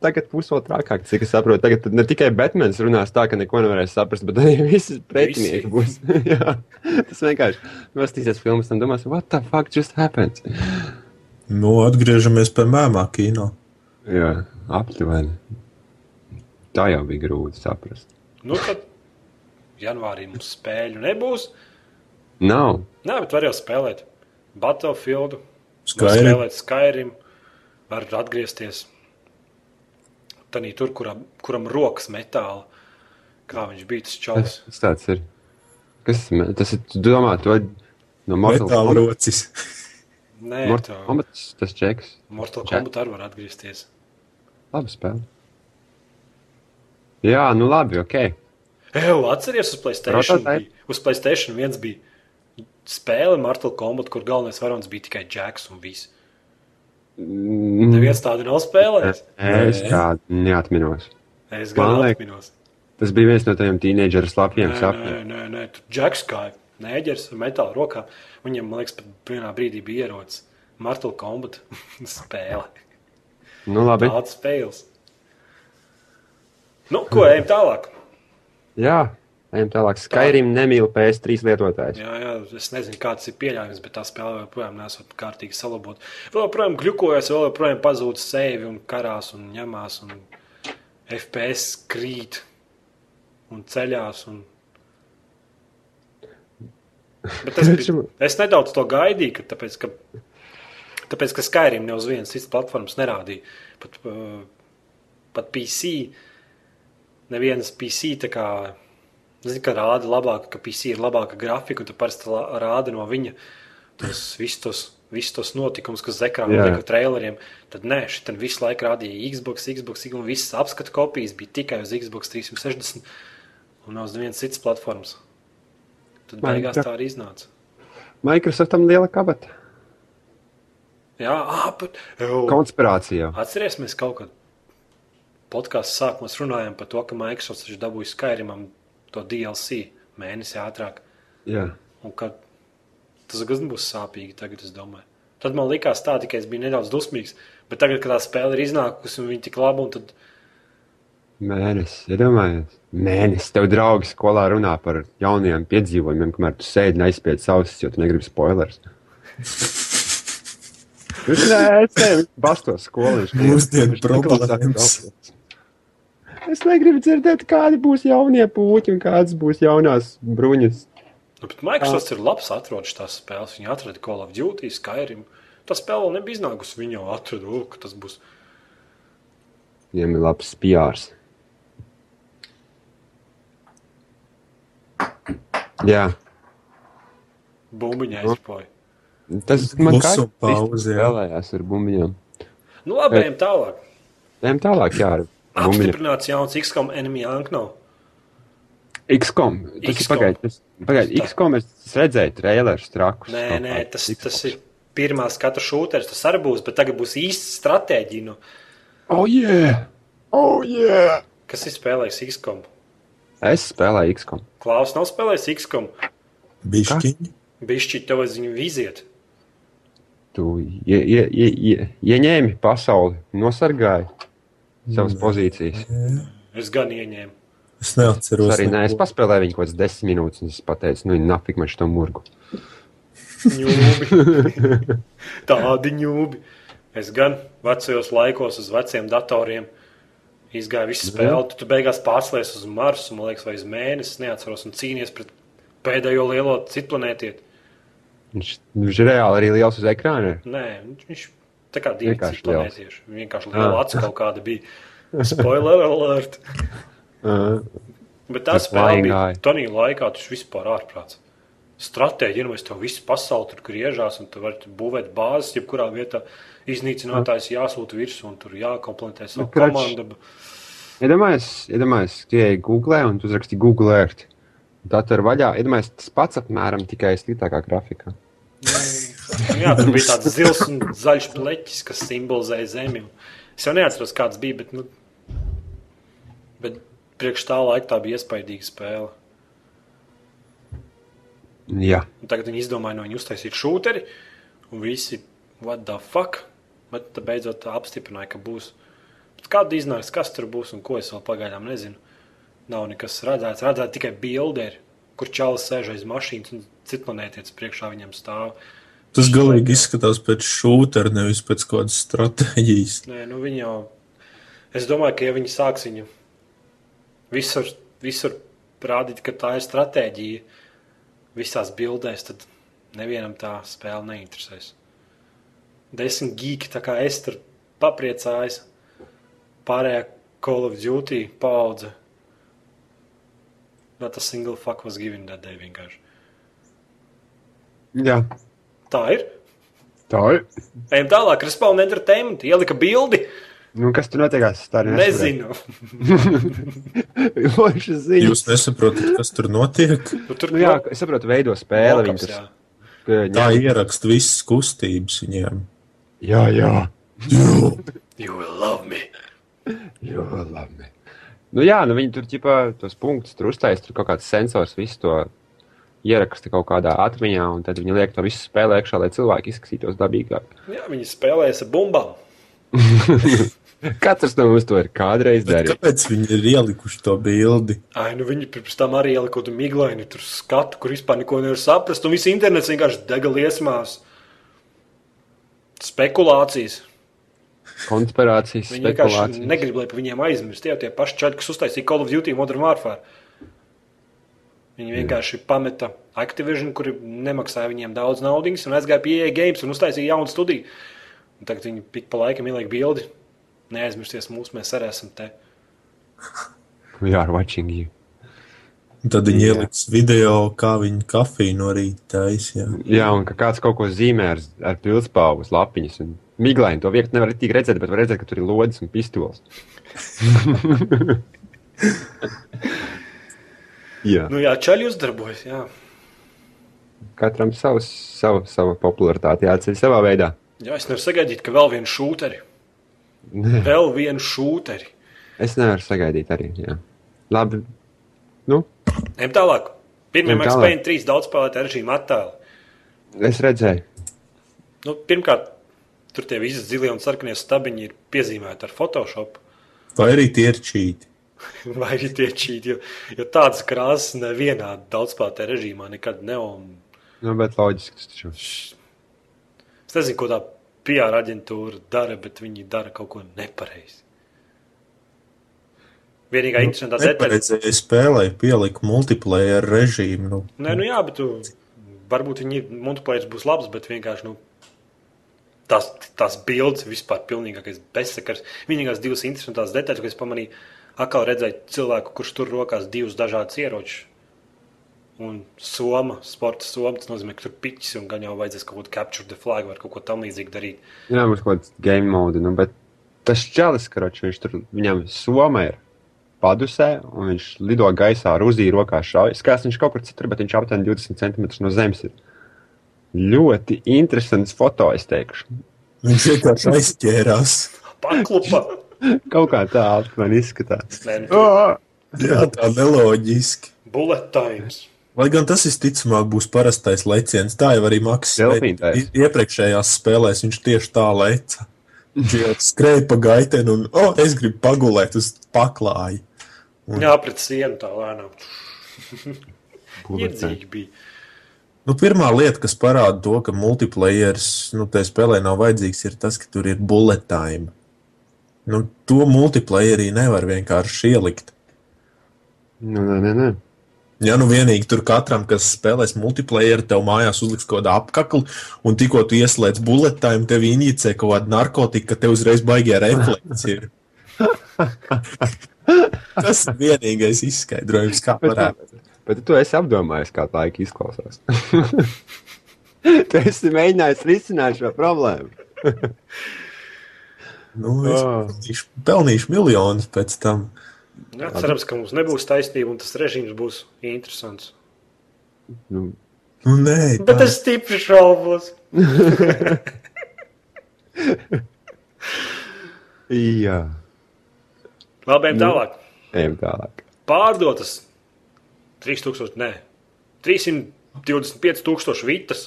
Tagad pusotrākāk, cik es saprotu, tagad tad ne tikai Batmans runās tā, ka neko nevarēs saprast, bet arī visi pretinieki Visi. būs. (laughs) Jā, Tas vienkārši nostīsies filmas un domās, what the fuck just happened? Nu, atgriežamies pie mēmā kino. Jā, aptuveni. Tā jau bija grūti saprast. Nu, tad janvārī mums spēļu nebūs. Nav. Nē, bet var jau spēlēt Battlefield, var Skaidri. spēlēt Skyrim, var atgriezties Tanī tur, kuram, kuram rokas metāla. Kā viņš bija tas čalis? Kas tas ir? Kas me- tas ir? Tu domā, to no Mortal Metāla Kombat- rocis. Nē, Mortal tā- Kombat, tas čeks. Mortal Čak. Kombat arī var atgriezties. Labi spēlē. Jā, nu labi, ok. Eju, atceries, uz Playstation, Prototype. bija- uz Playstation 1 bija spēle Mortal Kombat, kur galvenais varonis bija tikai Jacks un viss. Mm, Neviens tādu nav spēlējis. Es Nē. tādu neatminos. Es gan Man liek- atminos. Tas bija viens no tajiem tīneģeru slapjiem Nē, nē, sapņiem. nē, nē, tur Jacks kā nēģers ar metālu rokā. Viņam, man liekas, pat vienā brīdī bija ierocis Mortal Kombat (laughs) spēle. Nu labi. Tāds spēles. Nu, ko ejam tālāk? Jā, ejam tālāk. Skyrim nemīl PS3 lietotājs. Jā, jā, es nezinu, kāds ir pieļāvis, bet tā spēle joprojām nesot kārtīgi salabot. Vēl joprojām glukojas, vēl joprojām pazūd sevi un karās un ņemās un FPS krīt un ceļās. Un... Bet es, biju- es nedaudz to gaidīju, ka tāpēc, ka, tāpēc, ka Skyrim ne uz vienas citas platformas nerādīja. Pat, uh, pat PC, nevienas PC tā kā. Zini, ka rāda labāk, ka PC ir labāka grafika, un tu parasti la- rāda no viņa (laughs) tos visus tos, visus tos notikumus, kas ekrānā Jā. notiek ar traileriem. Tad nē, šitam visu laiku rādīja Xbox, Xbox, un visas apskatu kopijas bija tikai uz Xbox 360 un nav uz vienas citas platformas. Tad Man beigās tā- tā arī iznāca. Microsoftam liela kabata. Jā, ah, pat. Ew. Konspirācija. Atcerieties, mēs kaut kad podkāstu sākumā runājām par to, ka Microsoft ir dabūjis Skyrimam to DLC mēnesi ātrāk. Jā. Un ka tas gan būs sāpīgi, tagad es domāju. Tad man likās tā, ka es biju nedaudz dusmīgs. Bet tagad, kad tā spēle ir iznākusi un viņa tik laba, un tad Mēnesis, iedomājieties, mēnesis tev draugi skolā runā par jauniem piedzīvojumiem, kamēr tu sēdi un aizspied savus, jo tu negribi spoilers. Viņš neceļ, bastos skolā. viņš- Mūsdienu viņš neklausās problēmas. draugus. Es negribu dzirdēt, kādi būs jaunie puķi un kādas būs jaunās bruņas. Nu, bet Microsoft ir labs atrodams tās spēles. Viņa atrada Call of Duty, Skyrim. Tā spēle vēl nebija iznākusi. Viņa jau atrada, u, ka tas būs. Viņiem ir labs piārs. Jā, Bumbiņa aizpoja. tas man kā Klusu pauze, jā. spēlējās ar bumbiņām. Nu, labi, ejam tālāk. Ejam tālāk, Nu, jā, ar bumbiņām. Apstiprināts jauns XCOM enemy ankno. XCOM. Tas ir XCOM. pagaidām. Pagaid, Tā. XCOM es redzēju trailerus trakus. Nē, kaut nē, kādu. tas, XCOM. tas ir pirmās katra šūteris. Tas arī būs, bet tagad būs īsts stratēģija. Nu, Oh, yeah! Oh, yeah! kas ir spēlējis XCOM? Es spēlēju XCOM. Klaus nav spēlējis XCOM. Bišķiņi. Bišķi tev aiz viņu viziet. Tu ie, ie, ie, ie, ieņēmi pasauli, nosargāji savas pozīcijas. Es gan ieņēmu. Es neatceros. Es arī nē, es neko. paspēlēju viņu kaut kādas desmit minūtes, un es pateicu, nu, nafik man šo murgu. Ņūbi. Tādi ņūbi. Es gan vecajos laikos uz veciem datoriem izgāju visu spēli. Tu, tu beigās pārslēdzies uz Marsu, man liekas, vai uz Mēnesi. Es neatceros, un cīnījies pret pēdējo lielo citu planētieti. Viņš, viņš ir nu, reāli arī liels uz ekrāna. Nē, viņš- viņš tā kā divi Vienkārši citu planētieši. Vienkārši liela Ah. acu kaut kāda bija. Spoiler (laughs) alert! Uh, Bet tā Tas spēle bija vaigāja. tādā laikā, tas vispār ārprāts. Stratēģija, nu, es tev visu pasauli tur griežās, un tu vari būvēt bāzes, jebkurā vietā iznīcinātājs jāsūta virsū, un tur jākomplementē savu Nu, krač. komandu. iedomājies, iedomājies, ka ieej Google un tu uzraksti Google Earth. Tā tur vaļā, iedomājies, tas pats apmēram tikai sliktākā grafikā. Nu, Jā, tur bija tāds zils un zaļš pleķis, kas simbolizēja zemi. Es jau neatceros, kāds bija, bet, nu, bet priekš tā laika tā bija iespaidīga spēle. Jā. Un tagad viņi izdomāja, no viņa uztaisīt šūteri, un visi what the fuck. Bet tad beidzot tā apstiprināja, ka būs. Bet Kāda iznāks, kas tur būs un ko es vēl pagaidām nezinu. Nav nekas redzēts, redzēts tikai bilderi, kur čalis sēž aiz mašīnas un citplanētietis priekšā viņam stāv. Tas galīgi izskatās pēc šūta, nevis pēc kādas stratēģijas. Nē, nu viņi jau. Es domāju, ka ja viņi sāks viņu visur, visur rādīt, ka tā ir stratēģija visās bildēs, tad nevienam tā spēle neinteresēs. Desmit gigi, tā kā es tur papriecājos, pārējā Call of Duty paudze. Not a single fuck was given that day vienkārši. Jā. Tā ir. Tā ir. Ejam tālāk, Respawn Entertainment ielika bildi. Nu, kas tur notiekās? Tā arī (laughs) Nezinu. Loģiski ziņa. Jūs nesaprotat, kas tur notiek. Nu, tur Nu, jā, es saprotu, veido spēli. Mokaps, Viņus, jā. Tā jā, ieraksta visas kustības viņiem. jā, jā. You will love me. jā labi. Nu, jā, nu, viņi tur ķipā tos punktus tur uztaisīja, tur kaut kāds sensors visu to ieraksta kaut kādā atmiņā, un tad viņi liek to visu spēlē iekšā, lai cilvēki izskatītos dabīgāk. (laughs) Jā, viņi spēlēs ar bumbām. Katrs no mums to ir kādreiz Bet darījis. kāpēc viņi ir ielikuši to bildi? Ai, nu viņi pirms tam arī ielika kaut kādu miglaini, tur skatu, kur vispār neko nevar saprast. Un viss internets vienkārši dega liesmās. Spekulācijas. Konspirācijas, Viņi vienkārši spekulācijas. negrib, lai par viņiem aizmirst. Tie jau tie paši čaļi, kas uztaisīja Call of Duty Modern Warfare. Viņi vienkārši pameta Activision, kuri nemaksāja viņiem daudz naudas, un aizgāja pie EA Games un uztaisīja jaunu studiju. Un tagad viņi pik pa laikam ieliek bildi. Neaizmirsties mūs, mēs arī esam te. We are watching you. Tad viņi Jā. ieliks video, kā viņi kafiju no rīta taisīja. Jā, un ka kāds kaut ko zīmē ar, ar pilspāvu, uz lapiņas. un Miglaini to viegli nevar tik redzēt, bet var redzēt, ka tur ir lodes un (laughs) pistols. jā. Nu jā, čaļi uzdarbojas, jā. Katram savs, savu, savu popularitāti jāatceļ savā veidā. Jā, es nevaru sagaidīt, ka vēl viens šūteri. Nē. Vēl viens šūteri. Es nevaru sagaidīt arī. Jā. Labi. Nu, Ejam tālāk. Pirmie Ejam Max tālāk. Payne 3 daudzspēlēta režīma attēli. es redzēju. Nu, pirmkārt, tur tie visi zilie un sarkanie stabiņi ir piezīmēti ar Photoshop. (laughs) Vai arī tie ir čīti? Vai arī tie čīti, jo, jo tādas krāsas nevienā daudzspēlētā režīmā nekad nav. un Nu, bet loģiski tas taču. Es nezinu, ko tā PR aģentūra dara, bet viņi dara kaut ko nepareizi. Nu, Vienīgā interesantā detaļa. Neparedzēju spēlē, pieliku multiplayer režīmu. Nu, Nē, nu jā, bet tu, varbūt viņi multiplayers būs labs, bet vienkārši nu, tas, tas bildes vispār pilnīgākais bezsakars. Vienīgās divas interesantās detaļas, ko es pamanīju, atkal redzēju cilvēku, kurš tur rokās divus dažādus ieročus. Un soma, sporta soma, tas nozīmē, ka tur piķis un gan jau vajadzēs kaut ko capture the flag vai kaut ko tam līdzīgu darīt. Jā, mums kaut kāds game mode, nu, bet tas čalis, karoči, viņš tur, viņam soma ir padusē, un viņš lido gaisā ar uzī rokā šauj. Skās viņš kaut kur citur, bet viņš aptuveni 20 centimetrus no zemes ir. Ļoti interesants foto, es teikšu. viņš vienkārši aizķērās. Paklupa! Kaut kā tā aptuveni izskatās. Nē, (laughs) nu, tur Oh! Jā, tā neloģiski. Bullet times. Lai gan tas visticamāk būs parastais leciens, tā jau arī Delfīna maksā. taisa. Iepriekšējās spēlēs viņš tieši tā leca. Viņš jau skrēja pa gaiteni un, oh, es gribu pagulēt uz paklāju. Jā, pret sienu tā lēnām. (laughs) Bullet time. Iedzīgi bija. Nu, pirmā lieta, kas parāda to, ka multiplayeris nu, tajā spēlē nav vajadzīgs, ir tas, ka tur ir bullet time. Nu, to multiplayerī nevar vienkārši ielikt. Nu, nē, nē, nē. Ja nu vienīgi tur katram, kas spēlēs multiplayeru, tev mājās uzliks kaut kādu apakli, un tikko tu ieslēdz bullet time, tev injicē kaut kāda narkotika, ka tev uzreiz baigā refleksija (laughs) ir. Tas ir vienīgais izskaidrojums, kā Bet, parāda. tā, bet tu esi apdomājis, kā tā laika izklausās. (laughs) tu esi mēģinājis risināt šo problēmu. Nu, Oh. es Ā. pelnīšu, pelnīšu miljonus pēc tam. Jā, cerams, Nu, ka mums nebūs taisnība un tas režīms būs interesants. Nu, Nu, nē, Bet tā- es stipri šaubos. jā, Labi, ejam tālāk. ejam tālāk. Pārdotas 3000, nē, 325,000 vitas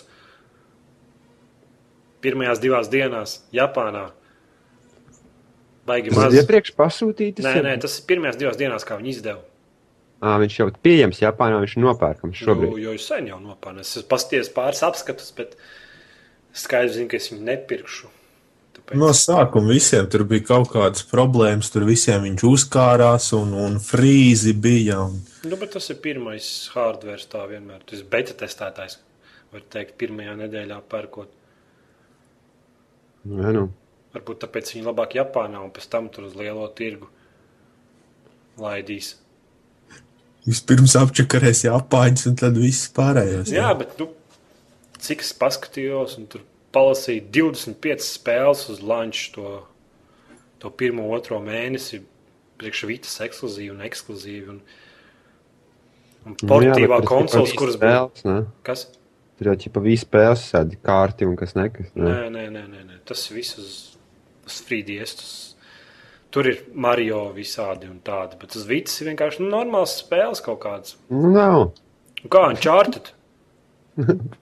pirmajās divās dienās Japānā. Baigi Tas maz. ir iepriekš pasūtīts. Nē, nē, tas ir pirmajās divās dienās, kā viņi izdeva. À, viņš jau ir pieejams Japānā, viņš ir nopērkams Jo, šobrīd. Nu, jo es sen jau nopērnu. Es esmu pasties pāris apskatus, bet skaidrs, zinu, ka es viņu nepirkšu. Tāpēc... No sākuma visiem tur bija kaut kādas problēmas, tur visiem viņš uzkārās un, un frīzi bija. Un... Nu, bet tas ir pirmais hardware, tā vienmēr ir. Tas ir beta testētājs, var teikt, pirmajā nedēļā pērkot. Nu, jā, nu. Varbūt tāpēc viņi labāk Japānā un pēc tam tur uz lielo tirgu laidīs. Vispirms apčakarēs Japāņus un tad viss pārējais. Jā, bet nu, cik es paskatījos, un tur palasīju 25 spēles uz lanču to, to pirmo, otro mēnesi. Priekšvītas ekskluzīvi un ekskluzīvi. Un, Nu, un jā, portīvā bet tas konsoles, tipa kuras bija. spēles, ne? Kas? Tur jau ķipa visu spēles sēdi kārti un kas nekas. Ne? Nē, nē, nē, nē, nē. tas viss uz, uz frīdies. Tas... Tur ir Mario visādi un tādi, bet tas viss ir vienkārši nu, normāls spēles kaut kāds. Nu, nav. Un Kā Uncharted?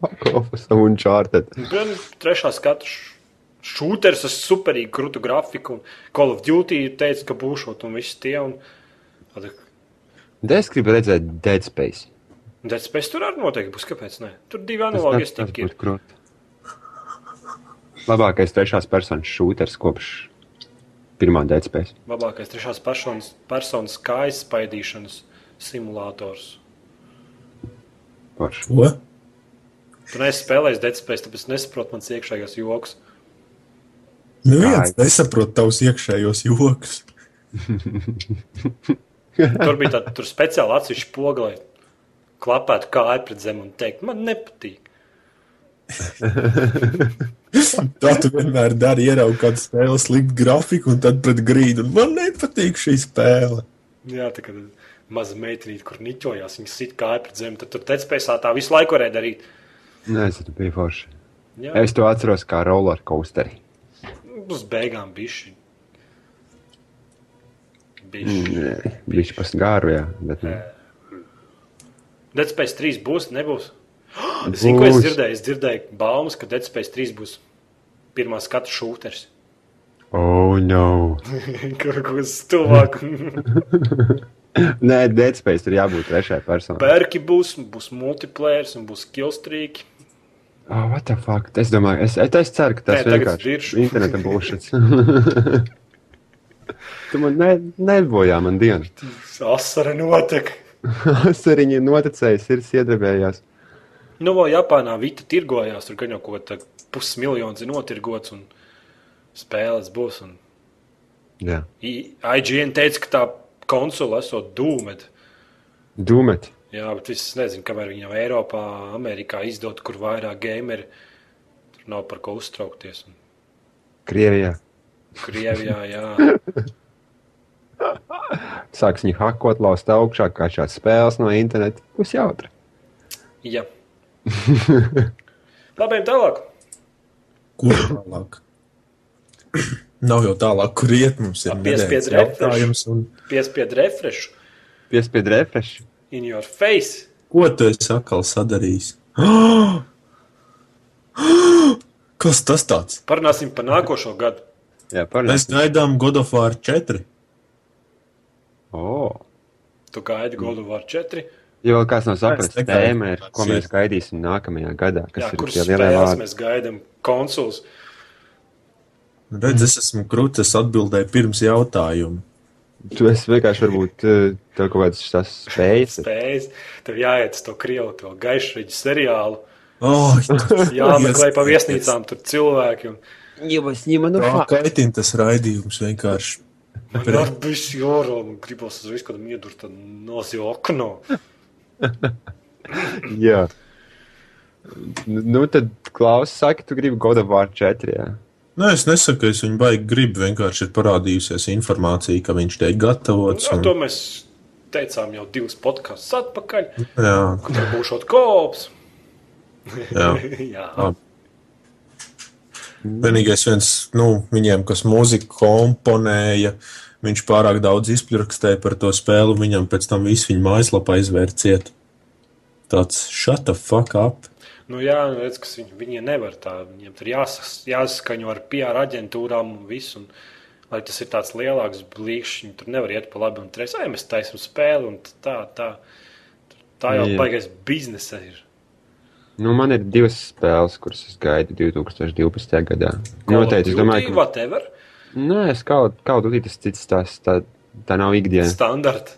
Pakofas un čārtet. Gan trešā skatu š- šūteris ar superīgu krūtu grafiku, un Call of Duty ir teicis, ka būšot un viss tie. Un... tāda- Bet es gribu redzēt Dead Space. Dead Space tur arī noteikti būs, kāpēc ne? Tur divi Tas, analogi tas, tas stiek ir. būtu krūti. Labākais trešās personas šūters kopš pirmā Dead Space. Labākais trešās personas, personas kājas spaidīšanas simulators. Forši. Ko? Tu neesi spēlējis Dead Space, tāpēc nesaproti mans iekšējās joks. Neviens Nu nesaprot tavus iekšējos joks. (laughs) Tur bija tāda tur speciāla atsevišķa poga, lai klapētu kāju pret zemi un teikt, man nepatīk. Tā tu vienmēr dari, ieraugi kādu spēli, sliktu grafiku un tad pret grīdu. Un man nepatīk šī spēle. Jā, tā kā maza meitene, kur niķojās, viņa sit kāju pret zemi, tad tur tecpēsā tā visu laiku varēja darīt. Nezinu, bija forši. Jā, Es to atceros kā roller coasteri. uz beigām bišķi. Bišķi. Nē, Viņš pats gāru, jā. Bet, nē. Dead Space 3 būs, nebūs. (gasps) Zinu, ko es Būs. dzirdēju. Es dzirdēju baumas, ka Dead Space 3 būs pirmā skatu šūters. Oh, no. Kaut kas tuvāk. Nē, Dead Space ir jābūt trešajai personai. Pērki būs, būs multiplayer, un būs killstrīki. Oh, what the fuck? Es domāju, es, es, es ceru, ka tas Nē, tagad vienkārši ir dziršu. interneta bullshit. (laughs) Tu man ne, nebojā man dienu. Asara notek. Asariņi noticēja, sirds iedarbējās. Nu, vēl Japānā Vita tirgojās, tur gan jau kaut kā pusmiljons ir notirgots un spēles būs. Un Jā. I- IGN teica, ka tā konsole esot dūmēta. Dūmet. Jā, bet es nezinu, kamēr viņi jau Eiropā, Amerikā izdod, kur vairāk gameri tur nav par ko uztraukties. Un Krievijā. Krievijā, jā, Sāks viņu hakot, laust augšā, kā šāds spēles no interneta. Būs jautri. jā. Labi, ejam tālāk. Kur tālāk? (clears throat) Nav jau tālāk, kur iet mums ir. Piespied nedēļas refresh. jautājums un Piespied refresh Piespied refresh. in your face. Ko tu esi atkal sadarījis? (gasps) Kas tas tāds? Parunāsim par nākošo gadu. Jā, parunāsim. Mēs gaidām God of War 4. Oh. Tu gaidi Goldu War 4. Jo vēl kāds nav Es sapratis, tikai- tēma ir, ko mēs gaidīsim nākamajā gadā, kas Jā, jā, ir kuras tie lielie spēles vārdi. mēs gaidām? Konsuls. Redz, es esmu krūtis, atbildēju pirms jautājuma. Tu esi vienkārši varbūt eh, tev kaut kādas tās spējas. Spējas. Tev jāiet uz to krievu, to gaišreģu seriālu. Oh, (laughs) Jāmeklē pa viesnīcām tur cilvēki. Un... Jā, es ņemu Tā kaitina tas raidījums vienkārši. Man ir bijis jūra, un gribas uz visu, kad miedur, tad nosi okno. Jā. Nu, tad, Klaus, saka, tu gribi God of War 4. Jā. Nē, Nu, es nesaku, es viņu baigi gribu. Vienkārši ir parādījusies informācija, ka viņš tiek gatavots. Un... Un, Nu, To mēs teicām jau divus podkāstus atpakaļ, jā, kad tur būs šāds kops. (laughs) jā. Jā, Labi. Vienīgais viens, nu, viņiem, kas mūziku komponēja, viņš pārāk daudz izpļurkstēja par to spēli. Viņam pēc tam viss viņa mājaslapā izvērciet. Tāds shut the fuck up. nu, jā nu, redz, kas viņi, viņi nevar tā. Viņiem tur jāsas, jāsaskaņo ar PR aģentūrām un visu. Un, lai tas ir tāds lielāks blīks, viņi tur nevar iet pa labi un treis. Ai, mēs taisam spēli un tā, tā. Tā jau Jā. baigais biznesa ir. Nu, man ir divas spēles, kuras es gaidu 2012. gadā. Noteikti, es domāju, ka. Whatever. Nē, es kaut kādā veidā tas cits tās. Tā, tā nav ikdiena. Standarta.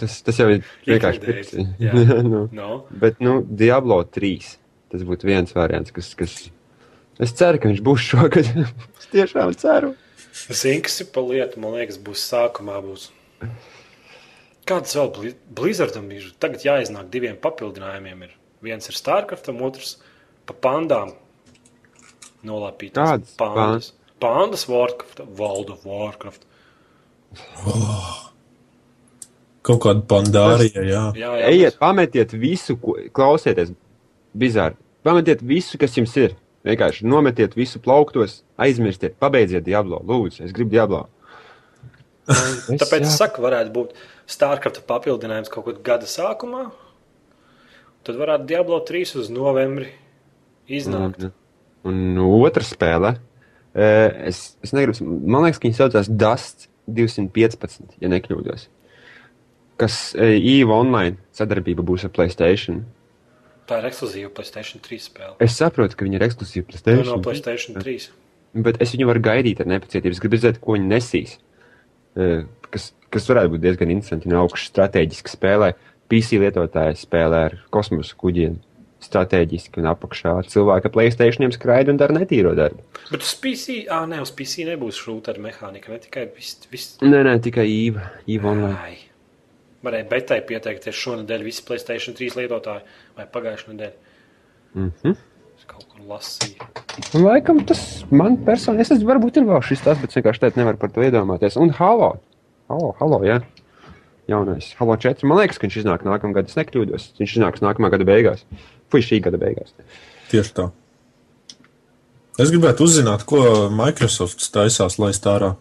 Tas, tas jau ir vienkārši Ikdienas, pirksti. jā. (laughs) Jā, nu. No. Bet, nu, Diablo 3. Tas būtu viens variants, kas. kas... Es ceru, ka viņš būs šogad. (laughs) es tiešām ceru. Zinksi pa lietu, man liekas, būs sākumā. Būs. Kāds vēl Bli- Blizzardam ir? Tagad jāiznāk diviem papildinājumiem. Ir. Viens ir Starkraftam, otrs pa pandām. Nolapītas Kādas pandas. Pandas Warcraft, World of Warcraft. Kaut kāda pandārija, jā. Jā, jā, Ejiet, pametiet visu, ko klausieties. Bizarri. Pametiet visu, kas jums ir. Vienkārši nometiet visu plauktos, aizmirstiet, pabeidziet Diablo. Lūdzu, es gribu Diablo. mēs- Tāpēc jā. es saku, varētu būt Starkrafta papildinājums kaut kad gada sākumā. Tad varētu Diablo 3 uz novembri iznākt. Un, un otra spēle. e, Es, es negribu, man liekas, ka viņi saucās Dust 215, ja nekļūdos. Kas e, EVE online sadarbība būs ar Playstation. Tā ir ekskluzīva PlayStation 3 spēle. Es saprotu, ka viņi ir ekskluzīvi Tā nav Playstation. PlayStation 3. Bet es viņu varu gaidīt ar nepacietību. Es gribu redzēt, ko viņi nesīs. Eh, Kas, kas varētu būt diezgan interesanti un augsts strateģiski spēlē. PC lietotāji spēlē ar kosmosa kuģiem. Strateģiski un apakšā cilvēka plēstēšaniem skraida un dara netīro darbu. Bet uz PC, ah, ne, uz PC nebūs šūta ar mehāniku, ne tikai viss. Vis... Nē, nē, tikai īva. īva online. Ai. Varēja betai pieteikties šonadēļ visi Playstation 3 lietotāji vai pagājušajā nedēļā. Mm -hmm. Es kaut kur lasīju. Laikam tas man personīgi, es esmu, varbūt ir vēl šis tas, bet es vienkārši tādu nevaru par to iedomāties. Un halo, halo, halo jā. Jaunais, halo 4. Man liekas, ka viņš iznāk nākamā gada, es nekļūdos. Viņš iznāks nākamā gada beigās. Puiši šī gada beigās. Tieši tā. Es gribētu uzzināt, ko Microsoft taisās laist ārā.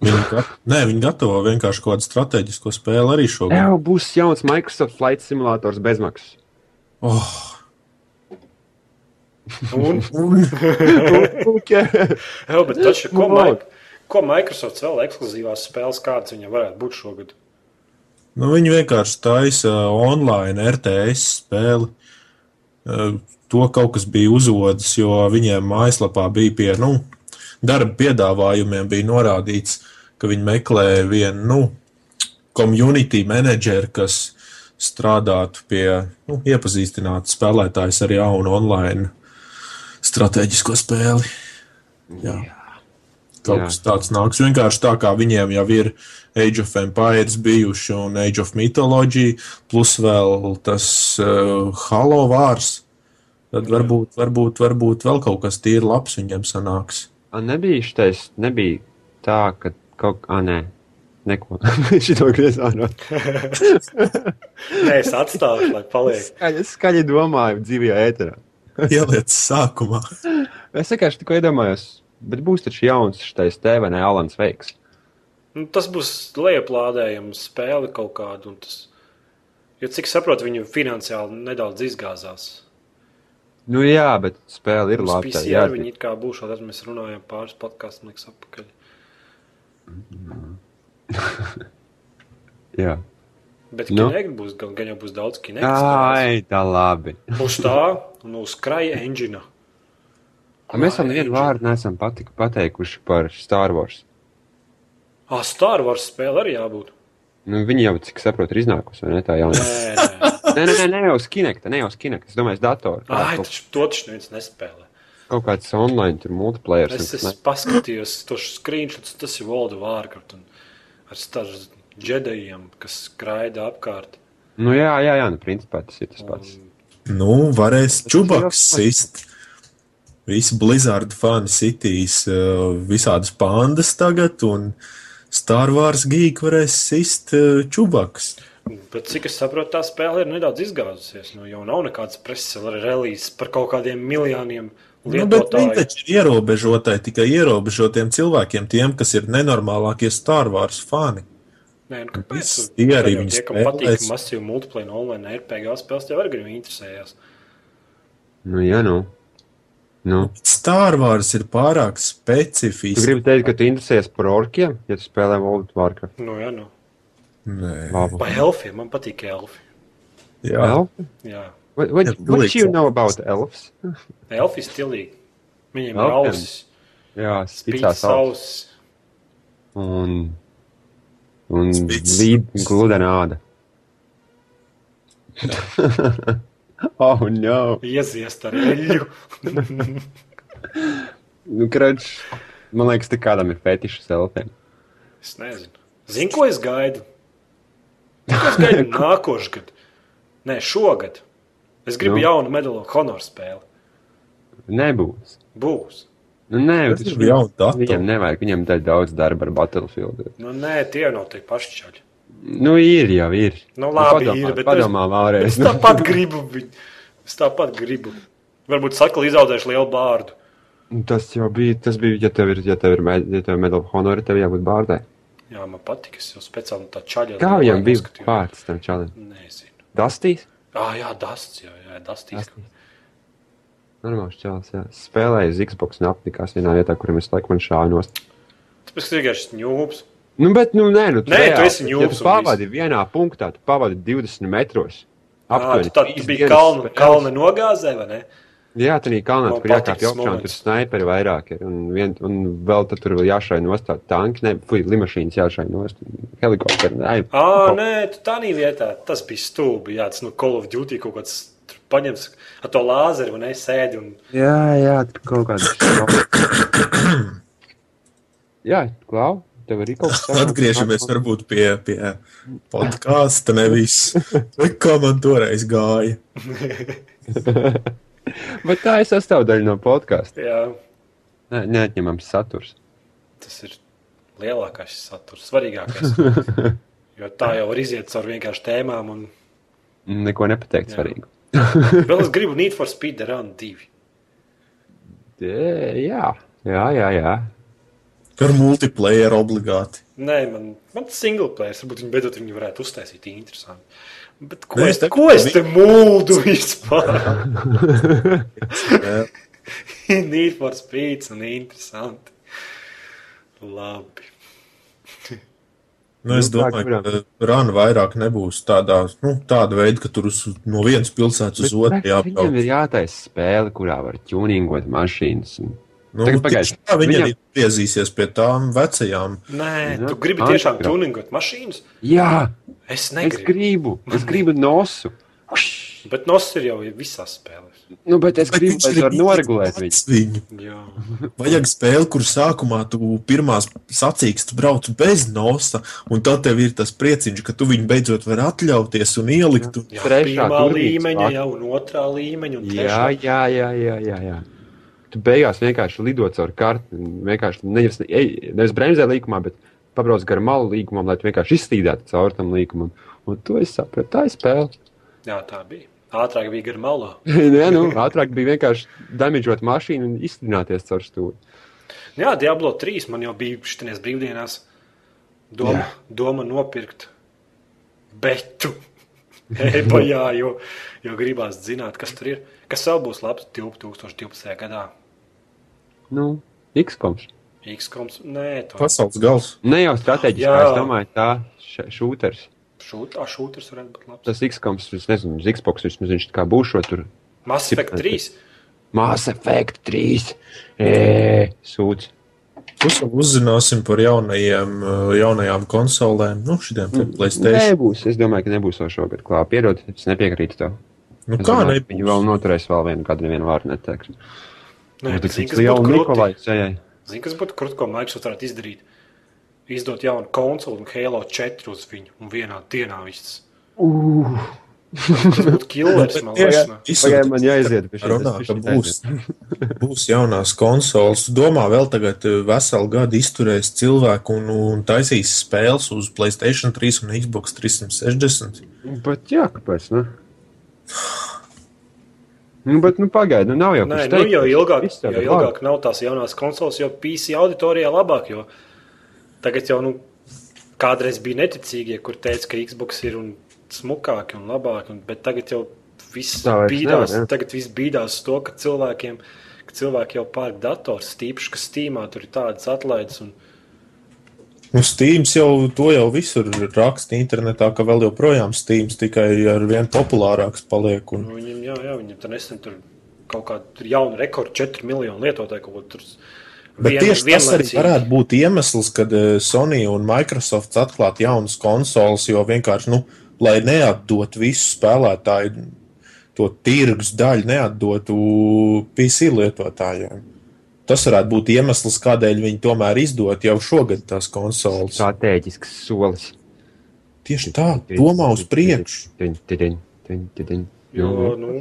Viņi, gat... Nē, viņi gatavo vienkārši kaut kādu strateģisku spēli arī šogad. Tev būs jauns Microsoft Flight simulators bezmaksas. Oh, Un, Okay. jā, bet taču, ko, Nu, Maik, labi. ko Microsoft vēl ekskluzīvās spēles, kādas viņam varētu būt šogad? nu, viņi vienkārši taisa online RTS spēli. Eh, To kaut kas bija uzvodas, jo viņiem mājaslapā bija pie nu, darba piedāvājumiem bija norādīts, ka viņi meklē vienu nu, community menedžeru, kas strādātu pie nu, iepazīstinātu spēlētājus ar jaunu online stratēģisko spēli. Jā. Kaut Jā. kas tāds nāks. Vienkārši tā kā viņiem jau ir Age of Empires bijuši un Age of Mythology, plus vēl tas uh, Halo vārs. Tad varbūt, varbūt, varbūt vēl kaut kas tīri labs viņiem sanāks. A, nebija šitais, nebija tā, ka kaut kā, nē, neko. Šito griezā no. Nē, es atstāju, lai paliek. Es skaļi domāju dzīvajā ēterā. Ieliec sākumā. Es vienkārši tikko iedomājos, bet būs taču jauns šitais te vai ne Alans Veiks. Nu, tas būs lejuplādējums, spēle kaut kāda. un Tas... Jo, cik saprotu, viņu finansiāli nedaudz izgāzās. Nu jā, bet spēle ir Uz labi. tā PC jāzina. arī viņi it kā būs, tad mēs runājām pāris podkāstu, liekas, apakaļ. Jā, Bet Nu. Kinect būs, gan, gan jau būs daudz Kinect. Ai, tā labi. Uz tā un uz kraja engina. Un mēs vēl vienu vārdu neesam patik, pateikuši par Star Wars. Ah, Star Wars spēle arī jābūt. Nu, viņi jau, cik saprotu, ir iznākusi, vai ne tā jaunā? Nē, (laughs) nē. Nē, nē, nē, ne jau skinekta, ne jau skinekta. Es domāju, es datoru. Kā Ai, kaut, taču, to taču neviens nespēlē. kaut kāds online tur multiplayer. Es, es paskatījos to screenshot, tas ir World of Warcraft un ar staru džedajiem, kas skraida apkārt. Nu, jā, jā, jā, nu, principā tas ir tas pats. Nu, varēs čubaks jau- sist. Visi Blizzard fani sitīs uh, visādas pandas tagad, un Star Wars geek varēs sist uh, čubaks. Bet, cik es saprotu, tā spēle ir nedaudz izgāzusies. Nu, jau nav nekādas preses relīzes par kaut kādiem miljoniem Nu, bet viņi lietotāju. taču ir ierobežotai tikai ierobežotiem cilvēkiem, tiem, kas ir nenormālākie Star Wars fani. Nē, nu, kāpēc? Viss tie arī Jau viņu Tie, kam patīk spēlēs. masīvi multiplayer online RPG spēles, tie arī grib interesējas. Nu, jā, nu. nu. Star Wars ir pārāk Tu specifisks. gribi teikt, ka tu interesējies par orkiem, ja tu spēlē World of Warcraft. Nu, jā, nu. Nē, Labu. Vai elfiem? Man patīk elfi. jā, Elfi? Jā. What, what, Jā, what you pilnīgs know about elves? Elfi ir stilīgi. Viņiem ir Elfiem? ausis, Jā, spīdās spīdīgs savs. ausis. Un, un Spīdz. līd gluda nāda. (laughs) oh, no. Ieziest ar eļļu. Nu, krač, man liekas, te kādam ir fetišs elfiem. es nezinu. Zinu, ko es gaidu. Zini, Ko es (laughs) gaidu nākošais gads. Nē, šogad. Es gribu Nu. nu. jaunu medaļu honoru spēli. Nebūs. Būs. Nu, nē, Tas taču ir jauns dators. Viņam nevajag, viņam daļa daudz darba ar Battlefield. Nu, nē, tie jau nav tie paši čaļi. Nu, ir jau, ir. Nu, labi, padomā, ir, bet padomā (laughs) Es vēlreiz. tāpat gribu. viņu. Es tāpat gribu. Varbūt sakli izaudzēšu lielu bārdu. Nu, Tas jau bija, tas bija, ja tev ir, ja tev ir, med, ja tev ir medal of honor, tev jābūt bārdai. Jā, man patīk. Es jau speciāli no tā čaļa. Kā viņam bija noskatījos. vārds tam čalim? Nezinu. Dastīs? Ah, jā, dasts, jā, jā, dastīs. Dastīs. Normāls čalis, jā. Spēlēja uz Xbox un apnikās vienā vietā, kur mēs laikam man šānos. Tāpēc ka tu vienkārši ņūps. Nu, bet, nu, nē, nu, Nē, tu esi Ja ņūps tu un pavadi vienā punktā, tu pavadi 20 metros. Aptuveni. Aptuveni, tad trīs tu biji dienas kalna, spēles. kalna nogāzē, vai ne? Jā, tā ir kalnā, Man kur jākāpj patīk tas augšā, un tur moments. snaiperi vairāk ir. Un, vien, un vēl tad tur vēl jāšai nostāt tanki, ne, fui, limašīnas jāšai nostāt, helikopteri. Ai, Ā, ko- nē, tu tā nī vietā, tas bija stūbi, jā, tas no Call of Duty kaut kāds tur paņems ar to lāzeri, vai ne, sēdi un... Jā, jā, tur kaut kāda. (coughs) jā, klau, tev arī kaut kas tāds. Atgriežamies varbūt pie, pie podkāsta. Nevis kā man toreiz gāja. Bet tā ir sastāvdaļa no podkāsta. Jā, Ne, neatņemams saturs. tas ir lielākais saturs, svarīgākais. Jo tā jau var iziet caur vienkārši tēmām un... Neko nepateikt Jā. svarīgu. Vēl es gribu Need for Speed Run 2. Dē, Jā, jā, jā. jā. Ar multiplayer obligāti. Nē, man, man single player, varbūt viņi beidzot viņu varētu uztaisīt interesanti. Bet ko, Nē, Nē, es, te, tā- ko es te mūdu (laughs) vispār? (laughs) Jā. Need for Speed un interesanti. Labi. Nu, es Nu, tā domāju, gribam. ka runa vairāk nebūs tādā, nu, tāda veida, ka tur uz, no vienas pilsētas uz otru Bet Viņam jābrauc. ir jātaisa spēle, kurā var tuningot mašīnas. Un... Nu, Tagad tieši pagaidi, tā viņa viņam- arī griezīsies pie tām vecajām. Nē, Jā, tu gribi tā ir tiešām grūti. tuningot mašīnas? Jā, Es es negribu. gribu, es gribu nosu. Bet nos ir jau visās spēlēs. Nu, bet es Bet gribu, viņš lai es ir varu noregulēt viņu. pats viņu. Jā. Vajag spēli, kur sākumā tu pirmās sacīkstas brauc bez nosa, un tad tev ir tas prieciņš, ka tu viņu beidzot vari atļauties un ielikt. Un... Jā, Trešā pirmā turnīrs līmeņa, vāk- jau otrā līmeņa, un Jā, trešā. jā, jā, jā, jā, jā. Tu beigās vienkārši lido caur karti. Vienkārši nevis, ej, nevis bremzē līkumā, bet pabrauc gar malu līkumam, lai tu vienkārši izslīdētu caur tam līkumam. Un to es sapratu, tā ir spēle. (laughs) jā, tā bija. Ātrāk bija gar malā. Nē, nu, ātrāk bija vienkārši damidžot mašīnu un izslīdināties caur stūri. Jā, Diablo 3 man jau bija šīs brīvdienās. Doma, Jā. doma nopirkt betu. (laughs) Ebajā, jo, jo gribās zināt, kas tur ir. Kas vēl būs labs 2012. gadā? Nu, X-koms. X-Coms, nē, tas Pasaules gals. Ne jau strateģiski, Jā. es domāju, tā š- šūters. šūters varētu būt labs. Tas X-koms, es nezinu, uz Xbox vismaz viņš tā kā būšo tur. Mass Effect 3. Mass Effect 3. Ē, sūds. Plus vēl uzzināsim par jaunajiem, uh, jaunajām konsolēm, nu, šitiem Mm. te Playstation. Nebūs, es domāju, ka nebūs vēl šogad klāta. Piedod, es nepiekrītu tev. Nu, Es kā domāju, ka nebūs? Viņi vēl noturēs vēl vienu gadu, nevienu vārdu neteiks. Nu, Nē, zini, tik kas liela būtu krūti? Nikolai sejai. Zini, kas būtu krūti, ko Microsoft varētu izdarīt? Izdot jaunu konsoli un Halo 4 uz viņu un vienā dienā viss. Tas būtu killers, (laughs) man Tieši liekas. ne? visur Pagaidām tas man jāiziet pie šī. Runā, ka būs, (laughs) būs jaunās konsoles. Domā, vēl tagad eh, veselu gadu izturēs cilvēku un, un taisīs spēles uz Playstation 3 un Xbox 360. Bet jā, kāpēc? Ne? Nu, bet, nu, pagaidi, nu, nav jau Nē, kurš nu, teikt, jo ka ilgāk, viss jau jo ir ilgāk nav tās jaunās konsoles, jo PC auditorijā labāk. Jo tagad jau nu, kādreiz bija neticīgie, kur teica, ka Xbox ir un smukāk un labāk, un, bet tagad jau viss Tā vairs bīdās, nevar, jā. tagad viss bīdās to, ka cilvēkiem ka cilvēki jau pērk dators, tīpaši, ka Steamā tur ir tādas atlaides. Un, Un Nu, Steams jau to jau visur raksta internetā, ka vēl joprojām Steams tikai ar vien populārāks paliek. Un... nu, viņam, jā, jā, viņam tur nesen tur kaut kāda jauna rekorda, 4 miljonu lietotāju kaut kur tur. Bet vien- tieši tas arī vienlaicīgi. varētu būt iemesls, kad eh, Sony un Microsoft atklātu jaunas konsoles, jo vienkārši, nu, lai neatdot visu spēlētāju to tirgus daļu, neatdotu PC lietotājiem. Tas varētu būt iemesls, kādēļ viņi tomēr izdot jau šogad tās konsoles. Tā. Strateģisks solis. Tieši tā, domā uz priekšu. Tidiņ, tidiņ, tidiņ, tidiņ. Jo, Jo, nu,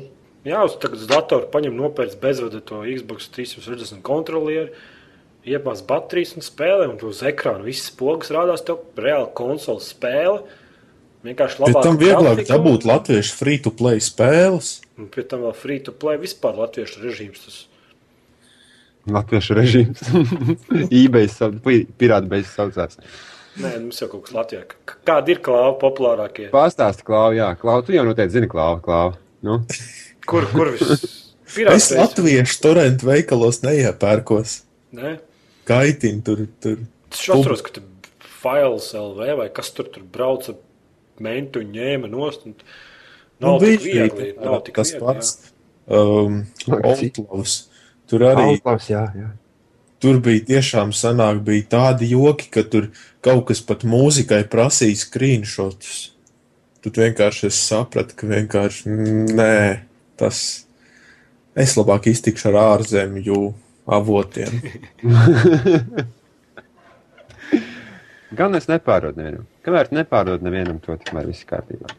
jā, uz tagad uz datoru paņem nopērts bezvadu to Xbox 360 kontrolieri, iepās baterijas un spēlē, un uz ekrāna visas pogas rādās tev reāli konsoles spēle. Vienkārši Pie labāk. tam vieglāk dabūt latviešu free-to-play spēles. Un pie tam vēl free to play vispār latviešu režīms. Tas. Latviešu režīms. (laughs) eBay sav- pi- pirāta beigas saucās. Nē, nu, mums jau kaut kas Latvijā. K- Kādi ir klāva populārākie? Pastāsti, Klau, jā, Klau, tu jau noteikti zini, Klau, Klau. Nu? Kur, kur (laughs) viss? Es Pirātais. latviešu torentu veikalos neiepērkos. Nē, Kaitin tur, tur. Es atceros, ka Fails LV vai kas tur, tur brauca mentu un ņēma nost. Un nav Nu, tik viegli. Nav tik Nu, tas viegli, pats. jā. Um, Labi. Outlaws. Tur arī Outlaws, jā, jā. tur bija tiešām sanāk, bija tādi joki, ka tur kaut kas pat mūzikai prasīja screenshots. Tad vienkārši es sapratu, ka vienkārši mm, nē, tas es labāk iztikšu ar ārzemju avotiem. (laughs) Gan es nepārdodu nevienam. Kamēr tu nepārdod nevienam to, tikmēr viss kārtībā.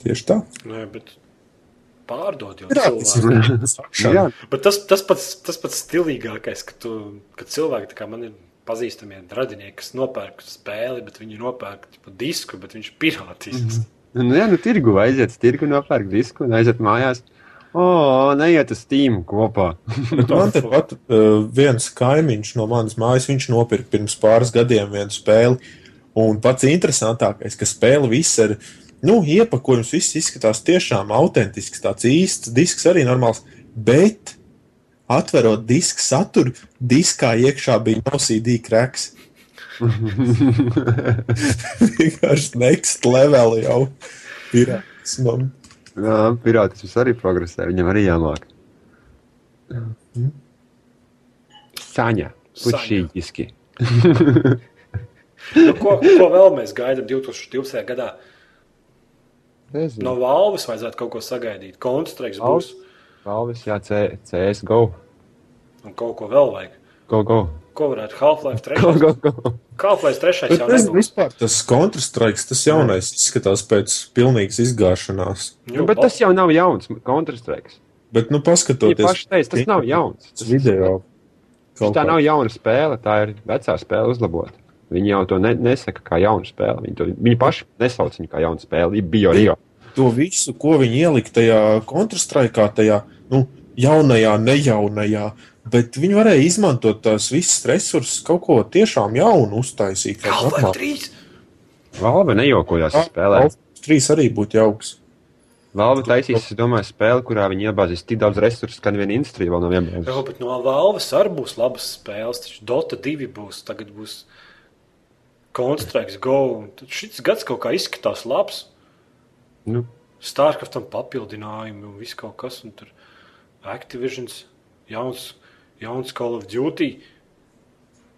Tieši tā. Nē, Nu, bet pārdod jau Pirātisms. cilvēku. Nu Sakšana. Bet tas, tas, pats, tas pats stilīgākais, ka, tu, ka cilvēki, tā kā man ir Mhm. pazīstamie radinieki, kas nopērk spēli, bet viņi nopērk tipa, disku, bet viņš ir pirātisks. Nu, jā, nu, tirgu aiziet, uz tirgu nopērk disku un aiziet mājās. O, neiet uz Steam kopā. Man te pat uh, viens kaimiņš no manas mājas, viņš nopirka pirms pāris gadiem vienu spēli. Un pats interesantākais, ka spēle viss ir, nu, iepakojums viss izskatās tiešām autentisks, tāds īsts disks arī normāls. Bet, atverot disku saturu, diskā iekšā bija no CD krāks. (laughs) Vienkārši next level jau ir. Jā, pirātisms arī progresē, viņam arī jāmāk. Saņa, Saņa. pušķīgi. Nu, ko, ko vēl mēs gaidām 2020. gadā? No Nezinu, Valves vajadzētu kaut ko sagaidīt. Konstraiks būs Valves? Valvis, jā, C- CSGO. un kaut ko vēl vajag. Go, go. Ko varētu Half-Life Go, 3? go, go. Half-Life 3 jau Bet es nebūs. vispār tas kontrastraiks, tas jaunais izskatās pēc pilnīgas izgāšanās. Nu, bet tas jau nav jauns kontrastrēks. Bet, nu, Viņa paskatoties, paša teica, tas nav jauns. Tas video. Tas, kaut tā kā. nav jauna spēle, tā ir vecā spēle uzlabota. Viņi jau to ne, nesaka kā jaunu spēli. Viņi, to, viņi paši nesauc viņu kā jaunu spēli. Ir Bio Rio. To visu, ko viņi ielika tajā kontrastraikā, tajā nu, jaunajā, nejaunajā. Bet viņi varēja izmantot tās visas resursus, kaut ko tiešām jaunu uztaisīt. kā Half-Life normāli. 3! Valve nejokojās ar spēlēm. Half-Life 3 arī būtu jauks. Valve taisīs, es domāju, spēli, kurā viņi iebāzīs tik daudz resursu, ka neviena industrija vēl nav Jā, iebāzīs. bet no Valves arī būs labas spēles. Taču Dota 2 būs, tagad būs Constructs Go. un tad Šis gads kaut kā izskatās labs. Nu, Starkraftam papildinājumi un viss kaut kas. Un tur Activision, jauns, jauns Call of Duty.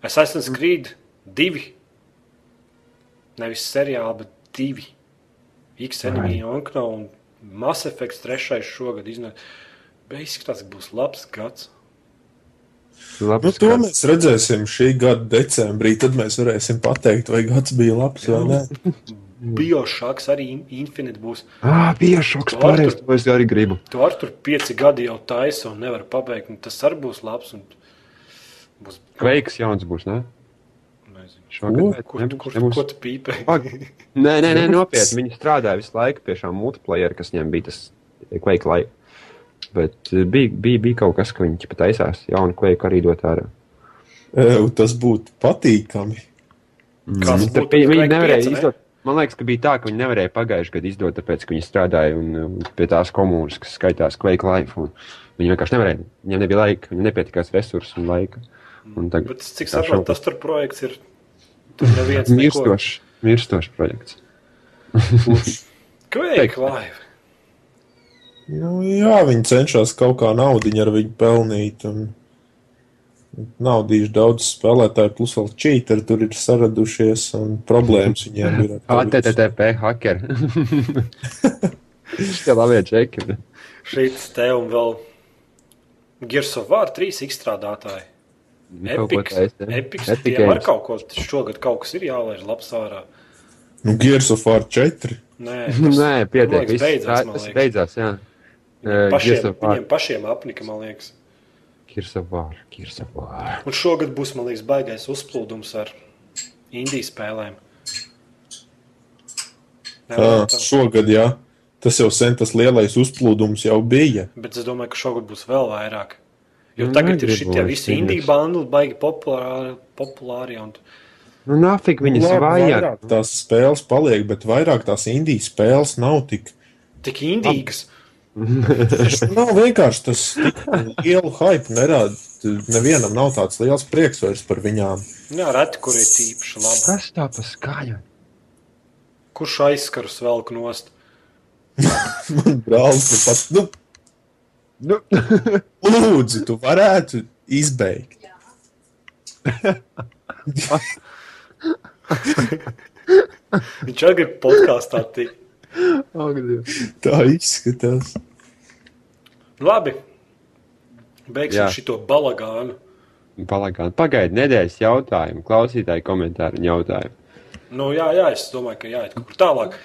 Es esmu Creed 2. Nevis seriāli, bet 2. X-Enemy Onkno un Mass Effect 3 šogad iznāk. Bet izskatās, ka būs labs gads. labi, Nu, to mēs redzēsim šī gada decembrī. Tad mēs varēsim pateikt, vai gads bija labs vai nē. Biošāks arī in- Infinite būs. Ah, bija šoks pārējais, to es arī gribu. Tu ar tur pieci gadi jau taisa un nevar pabeigt. Un tas arī būs labs. un Būs, Kveiks jauns būs, ne? nezinu, Šogad. vai- kur, nebūs- kur, nebūs. ko tu pīpē? Pag- Nē, nē, nē nopietni. Viņi strādāja visu laiku pie šām multiplayeriem, kas viņiem bija tas kveiks laiks. Bet eh, bija, bija, bija kaut kas, ka viņi pat taisās jaunu kveiku arī dot ārā. Ew, Tas būtu patīkami. Kas Viņi, būtu viņi, viņi Quake nevarēja pieci, ne? izdot. Man liekas, ka bija tā, ka viņi nevarēja pagājušajā gadā izdot, tāpēc, ka viņi strādāja un, un pie tās komunas, kas skaitās Quake Life. un Viņi vienkārši nevarēja. Viņiem nebija laika, viņiem nepietikās resursu un laika. Un tagad Bet, cik tā saprotu, šobrīd- tas tur projekts ir. Tur neviens neko. mirstošs, mirstošs projekts. Quake Live. Nu, jā, viņi cenšas kaut kā naudu ar viņu pelnīt. Un... Naudīšu daudz spēlētāju, plus vēl čīteri tur ir saradušies, un problēmas viņiem (laughs) ir. Ah, HTTP (laughs) hackeri. Šie labie čeki. Šeit te un vēl Gears of War 3 izstrādātāji. Epiks. Epiks. Tiem ar Games. kaut ko šogad kaut kas ir jālaiž labs ārā. Nu, Gears of War 4. (laughs) Nē, Nē, pietiek. Tas viss. beidzās, Tā- man Tas liekas. beidzās, jā. Eh, Gears Pašiem, of War. viņiem pašiem apnika, man liekas. Gears of War, Gears of War. Un šogad būs, man liekas, baigais uzplūdums ar indiju spēlēm. Tā, Nevar tā. Ah, šogad, jā. Tas jau sen tas lielais uzplūdums jau bija. Bet es domāju, ka šogad būs vēl vairāk. Jo Nu, tagad ir negribu šie es visi pieņemt. indiju bandli, baigi populāri. populāri un... Nu, nafik viņas Labi, vajag. vairāk Tās spēles paliek, bet vairāk tās indijas spēles nav tik Tik indīgas. Tas nav vienkārši tas tik lielu hype. Nerāda. Nevienam nav tāds liels prieks vairs par viņām. Jā, reti, kur ir tīpaši labi. Kas tā pa skaļu? Kurš aizskarus velk nost? Man brālis nu pat, nu, Nu, (laughs) lūdzu, tu varētu izbeigt. Viņš arī ir podkāstā tik. ak, oh, Dievs. Tā izskatās. Labi. Beigsim Jā. šo balagānu. Palagāni. Pagaidi, nedēļas jautājumu, klausītāju komentāru un jautājumu. Nu, jā, jā, es domāju, ka jāiet kaut kur tālāk.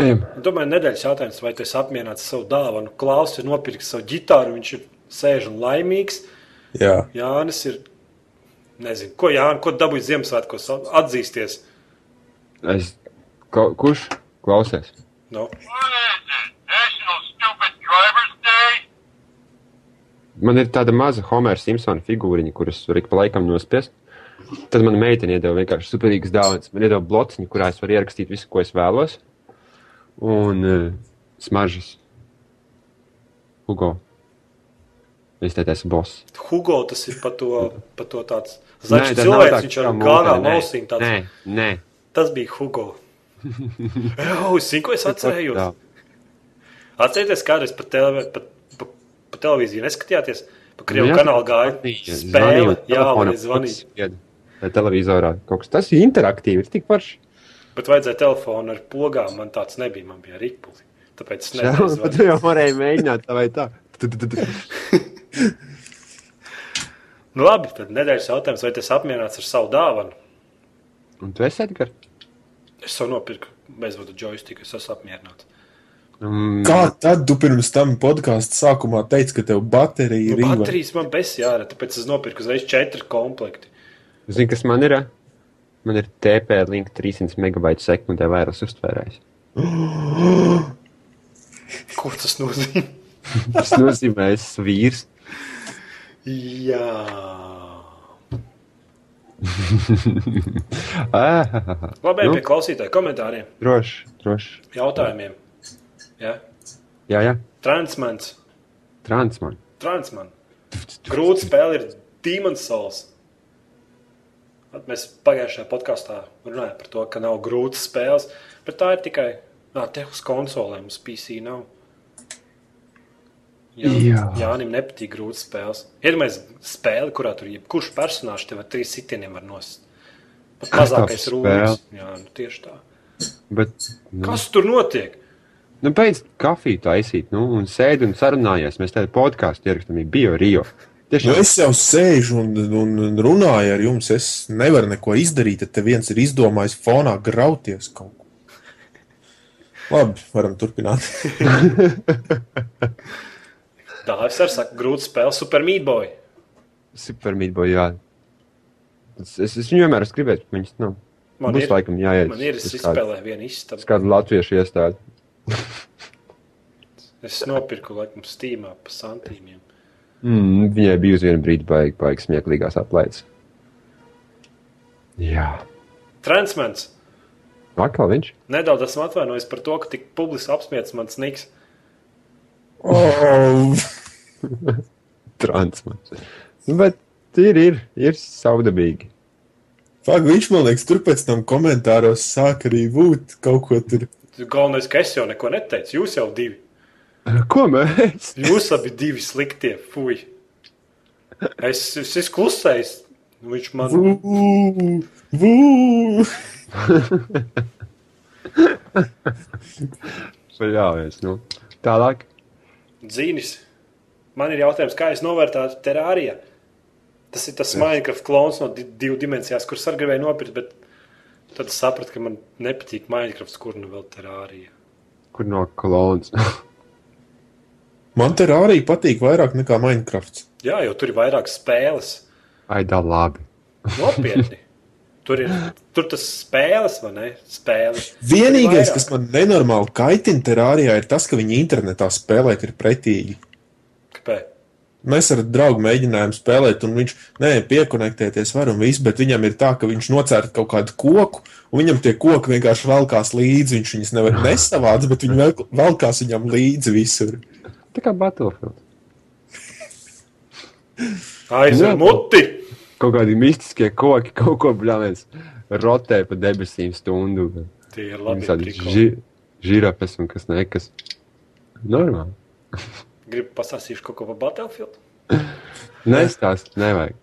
Ejam. Domāju, nedēļas jautājums, vai tu esi apmierināts ar savu dāvanu. Klaus ir nopircis savu ģitāru, viņš ir sēž un laimīgs. Jā, Jānis ir. Nezinu, ko Jānis, ko dabūjis Ziemassvētkos, atzīsties. Es, ko, kurš klausies? No. What is it? National Stupid Driver's Day? Man ir tāda maza Homēra Simpsona figūriņa, kuras var ik pa laikam nospiest. Tad man meitene iedeva vienkārši superīgas dāvanas. Man iedeva blociņu, kurā es varu ierakstīt visu, ko es vēlos. Un uh, smaržas. Hugo. Viņš te teica, boss. Hugo tas ir par to, pa to tāds Nē, zaļš tas nav cilvēks, tā, viņš kā ar mūtē, gānām nē. ausīm tāds. Nē, nē. Tas bija (laughs) Hugo. Jā, zinu, ko es Jā. atcerējos. Atcerieties, kādreiz pa, televi pa, pa, pa televīziju neskatījāties. Pa krievu Nu Jā, kanālu gāja zvanīja, spēle. Jā, telefona un es zvanīju. pulss ied- Vai televizorā kaut kas tāds - interaktīvs, ir tik forši. Bet vajadzēja telefonu ar pogām. Man tāds nebija, man bija rīkpuli. Tāpēc es Jā, nezinu. bet (laughs) tu jau varēji mēģināt tā vai tā. (laughs) Tu, tu, tu, tu. Nu, labi, tad nedēļas jautājums, vai tas apmierināts ar savu dāvanu? Un tu esi Edgars? Es jau nopirku bezvadu joystick, es esmu apmierināts. Mm, Kā tad tu pirms tam podkāstu sākumā teici, ka tev Nu, baterija ir invalīda? baterijas man bez jārada, tāpēc es nopirku uzreiz četri komplekti. Zini, kas man ir? Man ir TP-Link 300 megabaitu sekundē vairs uztvērējis. Ko tas nozīmē? Tas nozīmē, es esmu vīrs. Jā. Ā, Labi, Nu? nu? pie klausītāju komentāriem, Droši, droši. jautājumiem. Ja? Jā, jā, Transmans, transman. transman. Grūta spēle ir Demon's Souls. At Mēs pagājušajā podkāstā runājām par to, ka nav grūtas spēles, bet tā ir tikai nā, te uz konsolēm, uz PC. Nav. Jā, Jā. Jānim nepatīk grūtas spēles. Iedomājieties, spēle, kurā tur jebkurš personāžs tev ar trīs sitieniem var nost. Kas Pat tā par mazākais spēle? rūpes. Jā, nu, tieši tā. Bet, nu, Kas tur notiek? nu beidz kafiju taisīt, nu, un sēdi un sarunājies. Mēs tādu podkāstu ierakstām, ja bija Rio. Nu, Tiešām, es jau sēžu un, un, un runāju ar jums. Es nevaru neko izdarīt, tad te viens ir izdomājis fonā grauties kaut ko. Labi, varam turpināt. Dāvis arī saka, grūti spēlēt Super Meat Boy. supermītbo, jā. Es, es, es viņu vienmēr esmu gribējis, bet viņas nav. Man Būs ir, laikam jāiet. man ir es uz kādu- izspēlēju vienu uz izstādi. kādu latviešu iestādi. Es nopirku laikam Steamā pa santīmiem. Mm, viņai bija uz vienu brīdi baigi, baigi smieklīgās aplaides. Jā, Transmens. atkal viņš. Nedaudz esmu atvainojis par to, ka tik publiski apspiedis mans niks. Oh, Transmans. Nu, bet ir, ir, ir savdabīgi. fuck, viņš man liekas, tur pēc tam komentāros sāk arī būt kaut ko tur. Galvenais, ka es jau neko neteicu. Jūs jau divi. Ko mēs? Jūs abi divi sliktie. Fui. Es, es esmu klusējis. Nu, Viņš man Vū, vū. Paļāvies, nu. Tālāk. dzīvis. Man ir jautājums, kā es novērtētu terāriju. Tas ir tas Minecraft klons no di divu dimensijām, kurus arī gribēju nopirkt, bet tad es sapratu, ka man nepatīk Minecraft, kur nu vēl terārija. Kur no klons? (laughs) Man te arī patīk vairāk nekā Minecraft. Jā, jo tur ir vairāk spēles. Aidā labi. Nopietni. Tur ir tur tas spēles, vai ne? Spēles. Vienīgais, Vairāk. kas man nenormāli kaitina terārijā, ir tas, ka viņi internetā spēlēt ir pretīgi. Kāpēc? Mēs ar draugu mēģinājām spēlēt, un viņš nevienu piekonektēties var un viss, bet viņam ir tā, ka viņš nocērt kaut kādu koku, un viņam tie koki vienkārši velkās līdzi. Viņš viņus nevar nesavāc, bet viņi velk- velkās viņam līdzi visur. Tā kā Battlefield. Jā. Aizver muti! Kaut kādi mistiskie koki, kaut ko bļāvies. Rotē pa debesīm stundu. Tie ir labi. Visādi prikoli. ži, žirapes un kas nekas. Normāli. Gribu pasāstīšu kaut ko par Battlefield? Nestāst, nevajag.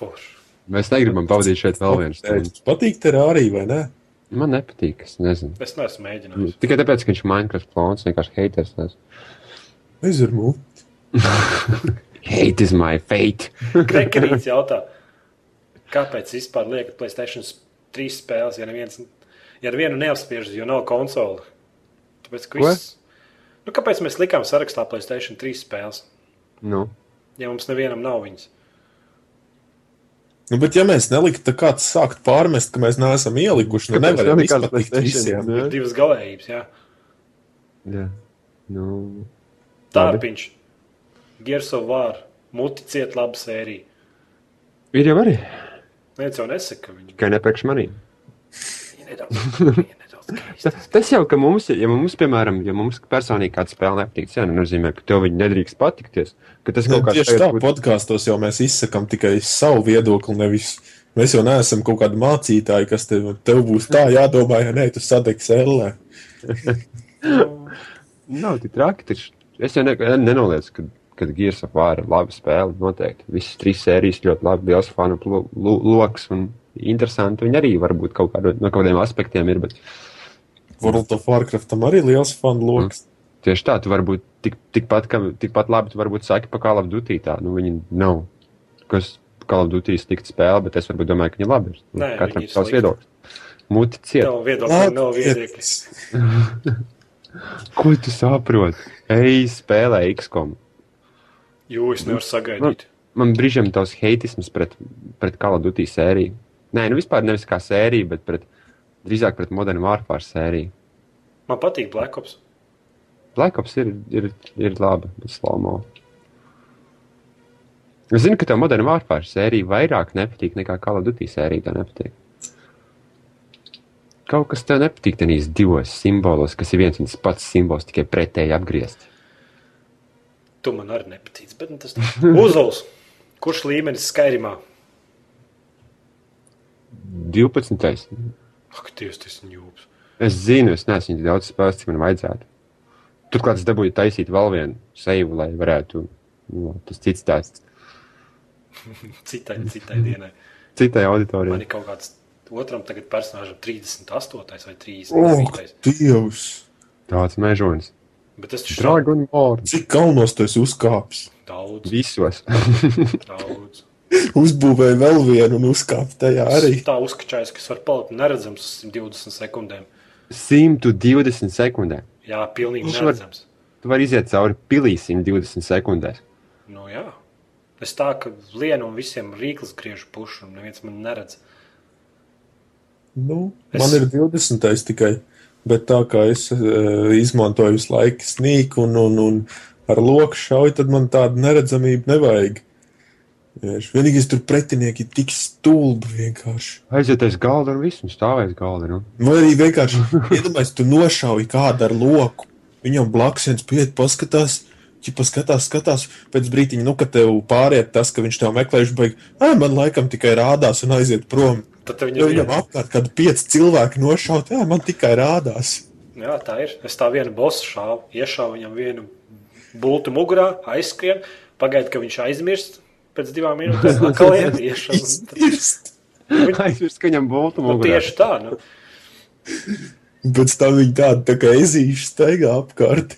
Forši. Mēs negribam pavadīt šeit vēl vienu stundu. Jums patīk terārija vai ne? Man nepatīk, es nezinu. Es neesmu mēģinājis. Tikai tāpēc, ka viņš ir Minecraft klons, vienkārši haters. nes. Izurmu. Hate is my fate. Krekerīts jautā, kāpēc vispār liekat Playstation 3 spēles, ja neviens, ja ar vienu neapspiežas, jo nav konsoli? Tāpēc, ka Ko? viss... Nu, kāpēc mēs likām sarakstā Playstation 3 spēles, (laughs) Nu, ja mums nevienam nav viņas? Nu, bet ja mēs neliktu, tad kāds sākt pārmest, ka mēs neesam ielikuši, nu Kāpēc nevaram nelikās izpatikt PlayStation, visiem. ne? Divas galējības, jā. Jā. Nu, labi. Tārpiņš, Gears of War, muticiet laba sērija. Ir jau arī, Neviens jau nesaka, ka viņi ka nepērkš manī. ir nedaudz. ir nedaudz Ta- skaisti. Tas jau, ka mums, ja mums, piemēram, ja mums personīgi kāda spēle nepatīk, tas nenozīmē, ka tev viņa nedrīkst patikties. ka Tas kaut Nu, kā Tieši tā, podkāstos jau mēs izsakām tikai savu viedokli. Nevis. Mēs jau neesam kaut kādi mācītāji, kas tev, tev būs tā jādomā, ja nē, tu sadegs E. ellē. Nav tik traki. Taču. Es jau ne, nenoliedzu, ka, ka Gears of War ir laba spēle. Noteikti. Visas trīs sērijas ļoti labi, liels fanu plo- lo- lokus un interesanti. Viņi arī varbūt kaut kādu, no kaut kādiem aspektiem ir. Bet World of Warcraft tam arī liels fanu lokus. tieši tā, tu varbūt tik, tikpat, ka, tikpat labi, tu varbūt saki par Call of Duty. Tā. Nu, viņi nav. Kas Call of Duty ir slikta spēle, bet es varbūt domāju, ka viņi labi ir. Nu, Nē, viņi Katram ir savs slikti. viedoklis. Muti ciet. Tev viedokļi nav viedokļi. Ko tu saproti? Ej, spēlē XCOM. Jūs nevarat sagaidīt. man brīžiem tāds heitisms pret, pret Call of Duty sēriju. Nē, nu vispār nevis kā sēriju, bet pret, drīzāk pret Modern Warfare sēriju. Man patīk Black Ops. Black Ops ir, ir, ir laba, bet slāmo. Es zinu, ka tev Modern Warfare sērija vairāk nepatīk nekā Call of Duty sērija. tev nepatīk. Kaut kas tev nepatīk tenīs divos simbolos, kas ir viens un tas pats simbols, tikai pretēji apgriezt. Tu man arī nepatīc. Bet nu tas (laughs) uzvals. Kurš līmenis skaidrībā? 12. Ak, Dievs, tas ir ņūps. Es zinu, es neesmu viņu daudz spēlējis, cik man vajadzētu. Turklāt es dabūju taisīt vēl vienu seju, lai varētu. Nu, tas cits tāds Citai, citai dienai. citai auditorijai. Man ir kaut kāds otram tagad personāžam 38 vai 30. Dievs! Tāds mežonis. Bet tas taču ir Dragon Ball. Cik kalnos tu esi uzkāpis? daudz, Visos. (laughs) daudz. Uzbūvēja vēl vienu un uzkāpa tajā arī. Es Tā uzskačājas, kas var palikt neredzams uz 120 sekundēm. 120 sekundē. Jā, pilnīgi Viņš var- neredzams. Tu vari iziet cauri pilī 120 sekundēs. Nu, jā. Es tā kā lienu un visiem rīklis griežu pušu, un neviens man neredz. Nu, Es- es... Man ir 20. tikai, bet tā kā es uh, izmantoju visu laiku snīku un, un, un ar loku šauju, tad man tādu neredzamību nevajag. Vienkārši Vienīgais tur pretinieki ir tik stulbi vienkārši. Aiziet aiz galda un viss, un stāvēs galda. (laughs) Nu. Vai arī vienkārši iedomājieties, tu nošauji kādu ar loku. Viņam blakus viens pietiek, paskatās. Čipa skatās, skatās, pēc brīdiņa, nu, kad tev pāriet tas, ka viņš tev meklējuši, beig, "Ā, man laikam tikai rādās un aiziet prom. Tad tev Jo viņu viņam apkārt kādi pieci cilvēki nošaut, jā, man tikai rādās. Jā, tā ir. Es tā vienu bosu šāvu, iešāvu viņam vienu bultu mugurā, aizskrienu, pagaidu, ka viņš aizmirst. Pēc divām minūtēm atkal ejam, iešavu. Tad- Izmirst. Aizmirst, ka viņam būtu Nu, mūžs. tieši tā, nu, Pēc tam viņi tādu tā kā ezīšu staigā apkārt.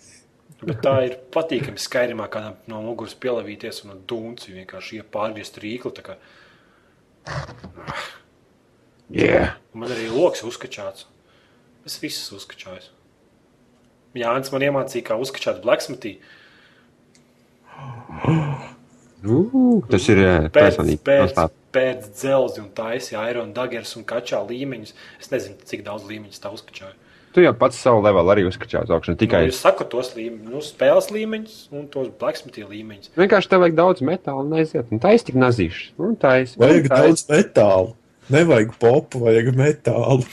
bet tā ir patīkami skaidrībā, kādam no muguras pielavīties un no dūnci vienkārši iepārgriezt rīkli. tā kā. Yeah. Man arī loks uzkačāts. Es visus uzkačāju. Jānis man iemācīja, kā uzkačāt blacksmithī. Nu, tas ir eh, pēc, personīgi. pēc, nostāp. pēc dzelzceļa, un taisīja Iron Daggers un kačā līmeņus. Es nezinu, cik daudz līmeņus tā uzkačāja. Tu jau pats savu levelu arī uzskatījās augšā. Tikai Nu, es saku tos līmeņus, nu, spēles līmeņus un tos blacksmithī līmeņus. Vienkārši tev vajag daudz metāla, un aiziet. Un tā ir tik Nu, nazīša. Un tā ir. Vajag daudz metālu. Nevajag popu, vajag metālu.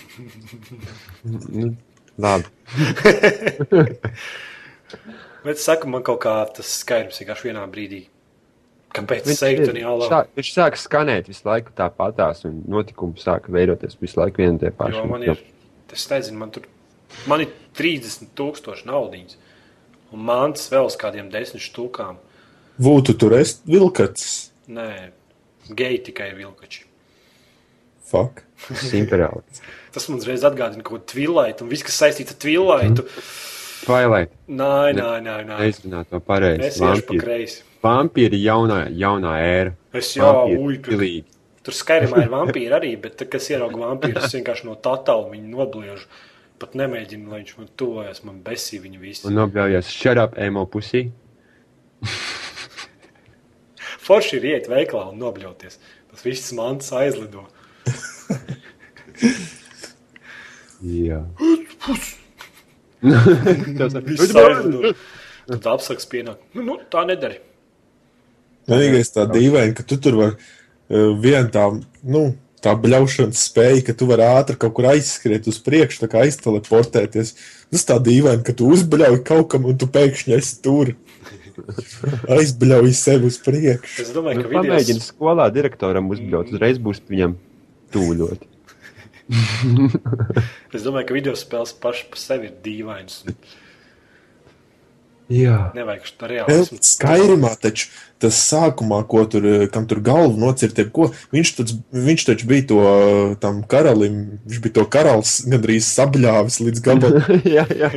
Labi. Bet es saku, man kaut kā tas skaidrs vienkārši vienā brīdī. Kāpēc es teiktu, ka jālauž? sāk- viņš sāk skanēt visu laiku tāpatās, un notikumi sāk veidoties visu laiku vien un tie paši. Nu, Jo man ir, es nezinu, man tur man ir 30,000 naudas, un mans vēl uz kādiem 10 stūkām. Būtu tur es vilkats. Nē, geji tikai vilkači. Fuck. tas imperiālis. Tas man uzreiz atgādina kaut ko tvilaitu, un viss, kas saistīts ar tvilaitu. Twilight, Nē, nē, nē, nē. aizrunā to Es pareizi. jau tādu Vampīri, kreisi. vampīri jaunā, jaunā ēra. Es jau Vampīri uipju. pilīgi. Tur skaidrībā ir vampīri arī, bet tad, kas ierauga vampīru, es vienkārši no tā tālu viņu nobliežu. Pat nemēģinu, lai viņš man tuvojas, man besī viņa visi. Un nobļaujies shut up emo pusī. Forši ir iet veiklā un nobļauties. Tas viss mans aizlido. (laughs) Jā. Viss aizdur. Tad apsaks pienāk. Nu, nu, tā nedari. Vienīgais tā dīvaini, ka tu tur var uh, vien tā, nu, tā bļaušanas spēja, ka tu vari ātri kaut kur aizskriet uz priekšu, tā kā aizteleportēties. Tas tā dīvaini, ka tu uzbļauj kaut kam un tu pēkšņi esi tur. Aizbļauj sevi uz priekšu. Es domāju, Nu, ka Pamēģini videos, skolā direktoram uzbļaut, uzreiz būs viņam tūļot. es domāju, ka video spēles pašas par sevi ir dīvainas. un Jā. Nevajag šo realismu. Skairimā taču tas sākumā, ko tur, eh, kam tur galvu nocirta, jeb ko, viņš, taču, viņš taču bija to eh, tam karalim, viņš bija to karalis gandrīz sabļāvis līdz gabalam. (laughs) jā, jā.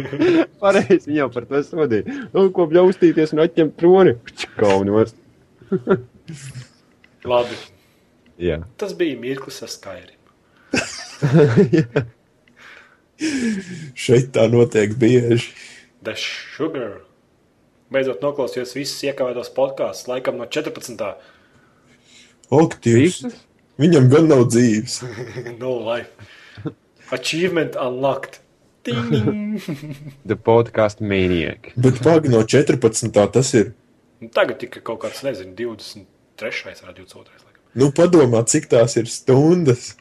Pareizi viņa par to sodīja. Nu, ko bļaustīties un atņemt troni? Kaunos. Labi, Jā. tas bija mirklis ar skaidri. Šeit tā notiek bieži. The Sugar. Beidzot noklausījos visus iekavētos podkāstus, laikam no 14. Ak, Dievs! Visus? Viņam gan nav dzīves. No life. Achievement unlocked. Ding! The podcast maniac. Bet pagaidi no 14. tas ir. Nu, Tagad tikai kaut kāds, nezinu, 23. vai 22. Laikam. Nu, padomā, cik tās ir stundas.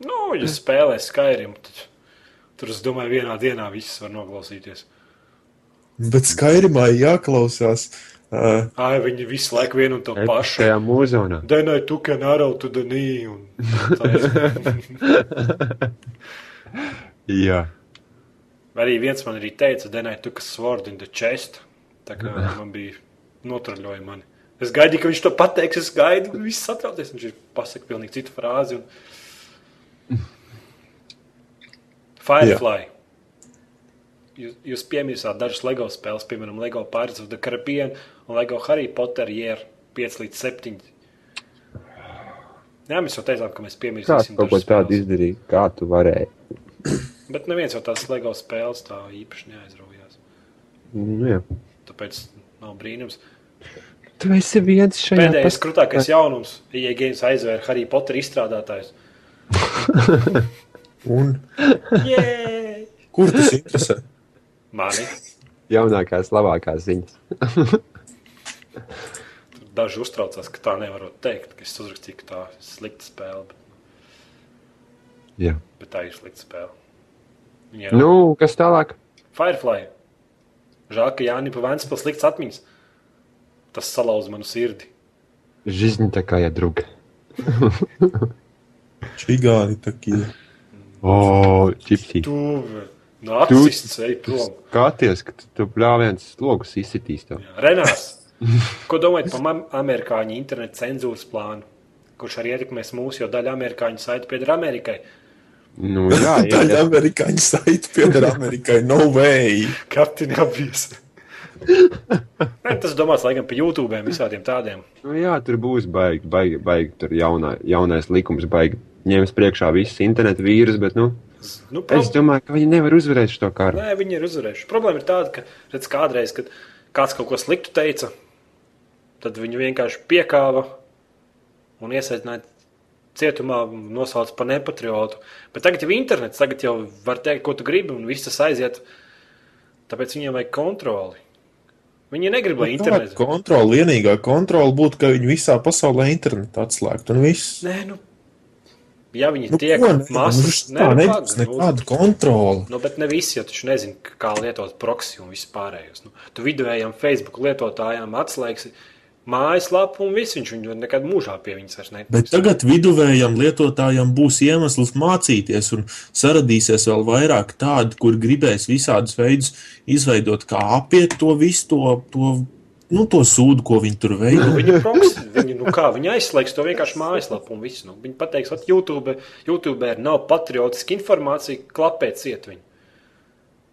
Nu, ja spēlē Skyrim, tad tur es domāju, vienā dienā viss var noklausīties. Bet skaidrumā jāklausās. Uh, Ai, viņi visu laiku vienu un to pašu. Šajā mūzonā. Denai, tu kā nāra, tu denī. Un... tā es- Jā. Arī viens man arī teica, Denai, tu kā sword in the chest. Tā kā man bija notraļoja mani. Es gaidīju, ka viņš to pateiks, es gaidu, un viss satraucies. Viņš ir pasakā pilnīgi citu frāzi. Un... (laughs) Firefly. Jūs, jūs piemirsāt dažas LEGO spēles, piemēram, LEGO Pirates of the Caribbean un LEGO Harry Potter Year 5 līdz 7. Jā, mēs jau teicām, ka mēs Kāds piemirsīsim kaut ko dažas tādu spēles. izdarīja? Kā tu varēji? Bet neviens jau tās LEGO spēles tā īpaši neaizraujās. Nu, jā. Tāpēc nav brīnums. Tu esi viens šajā Pēdējais krūtākais jaunums, ja Games aizvēra Harry Potter izstrādātājus. un Jē! kur tas interesē? Mani jaunākās, labākās ziņas. tur daži uztraucās, ka tā nevar teikt, ka es uzrakstīju, ka tā ir slikta spēle, bet, Jā. bet tā ir slikta spēle. Jā. Nu. (laughs) Nu, kas tālāk? Firefly. Žēl, ka Jānis Pavēns par slikts atmiņas. Tas salauz manu sirdi. Žizņa tā kā jādrūga. Čigāni takie. O, čipsī. Tu nācists, ej prom. Skaties, ka tu, tu bļāviens logus izsitīs (laughs) tev. Jā. Renās, ko domājat par mam- amerikāņu internetu cenzūras plānu, kurš arī ietekmēs mūsu, jo daļa amerikāņu saita pieder Amerikai? Nu, jā, jā, Daļa jā. amerikāņu saiti pieder Amerikai. No way! Kapteinis apgājis. Tas domāts laikam par YouTube, visādiem tādiem. Nu, jā, tur būs baigi, baigi, baigi tur jaunā, jaunais likums, baigi ņems priekšā visas internetu vīrus, bet, nu, Z- Nu, pro... es domāju, ka viņi nevar uzvarēt šo karu. Nē, viņi ir uzvarējuši. Problēma ir tāda, ka redz, kādreiz, kad kāds kaut ko sliktu teica, tad viņu vienkārši piekāva un iesaistīja cietumā, nosauca par nepatriotu. Bet tagad jau internets, tagad jau var teikt, ko tu gribi, un viss tas aiziet. Tāpēc viņiem vajag kontroli. Viņi negrib, lai Tāda internets kontrola, Nu, vienīgā kontrola būtu, ka viņi visā pasaulē internetu atslēgtu un viss. Nē, nu, ja viņi Nu, tiek ko, ne, masas, nu, tā nu, nebūs pagaidi, nu, nekāda kontrola. Nu, bet ne visi jau taču nezina, k- kā lietot proxy un vispārējos. Nu, tu vidējiem Facebook lietotājiem atslēgsi mājaslapu un viss viņš viņu nekad mūžā pie viņas vairs Bet netiks. tagad viduvējam lietotājam būs iemesls mācīties, un saradīsies vēl vairāk tādu, kur gribēs visādus veidus izveidot, kā apiet to visu, to, to, nu, to sūdu, ko viņi tur veido. Viņa proxy, viņa, nu kā, viņa aizslēgs to vienkārši mājaslapu un viss. Nu, viņa pateiks, ka YouTube, YouTube nav patriotiska informācija, klapēt ciet viņu.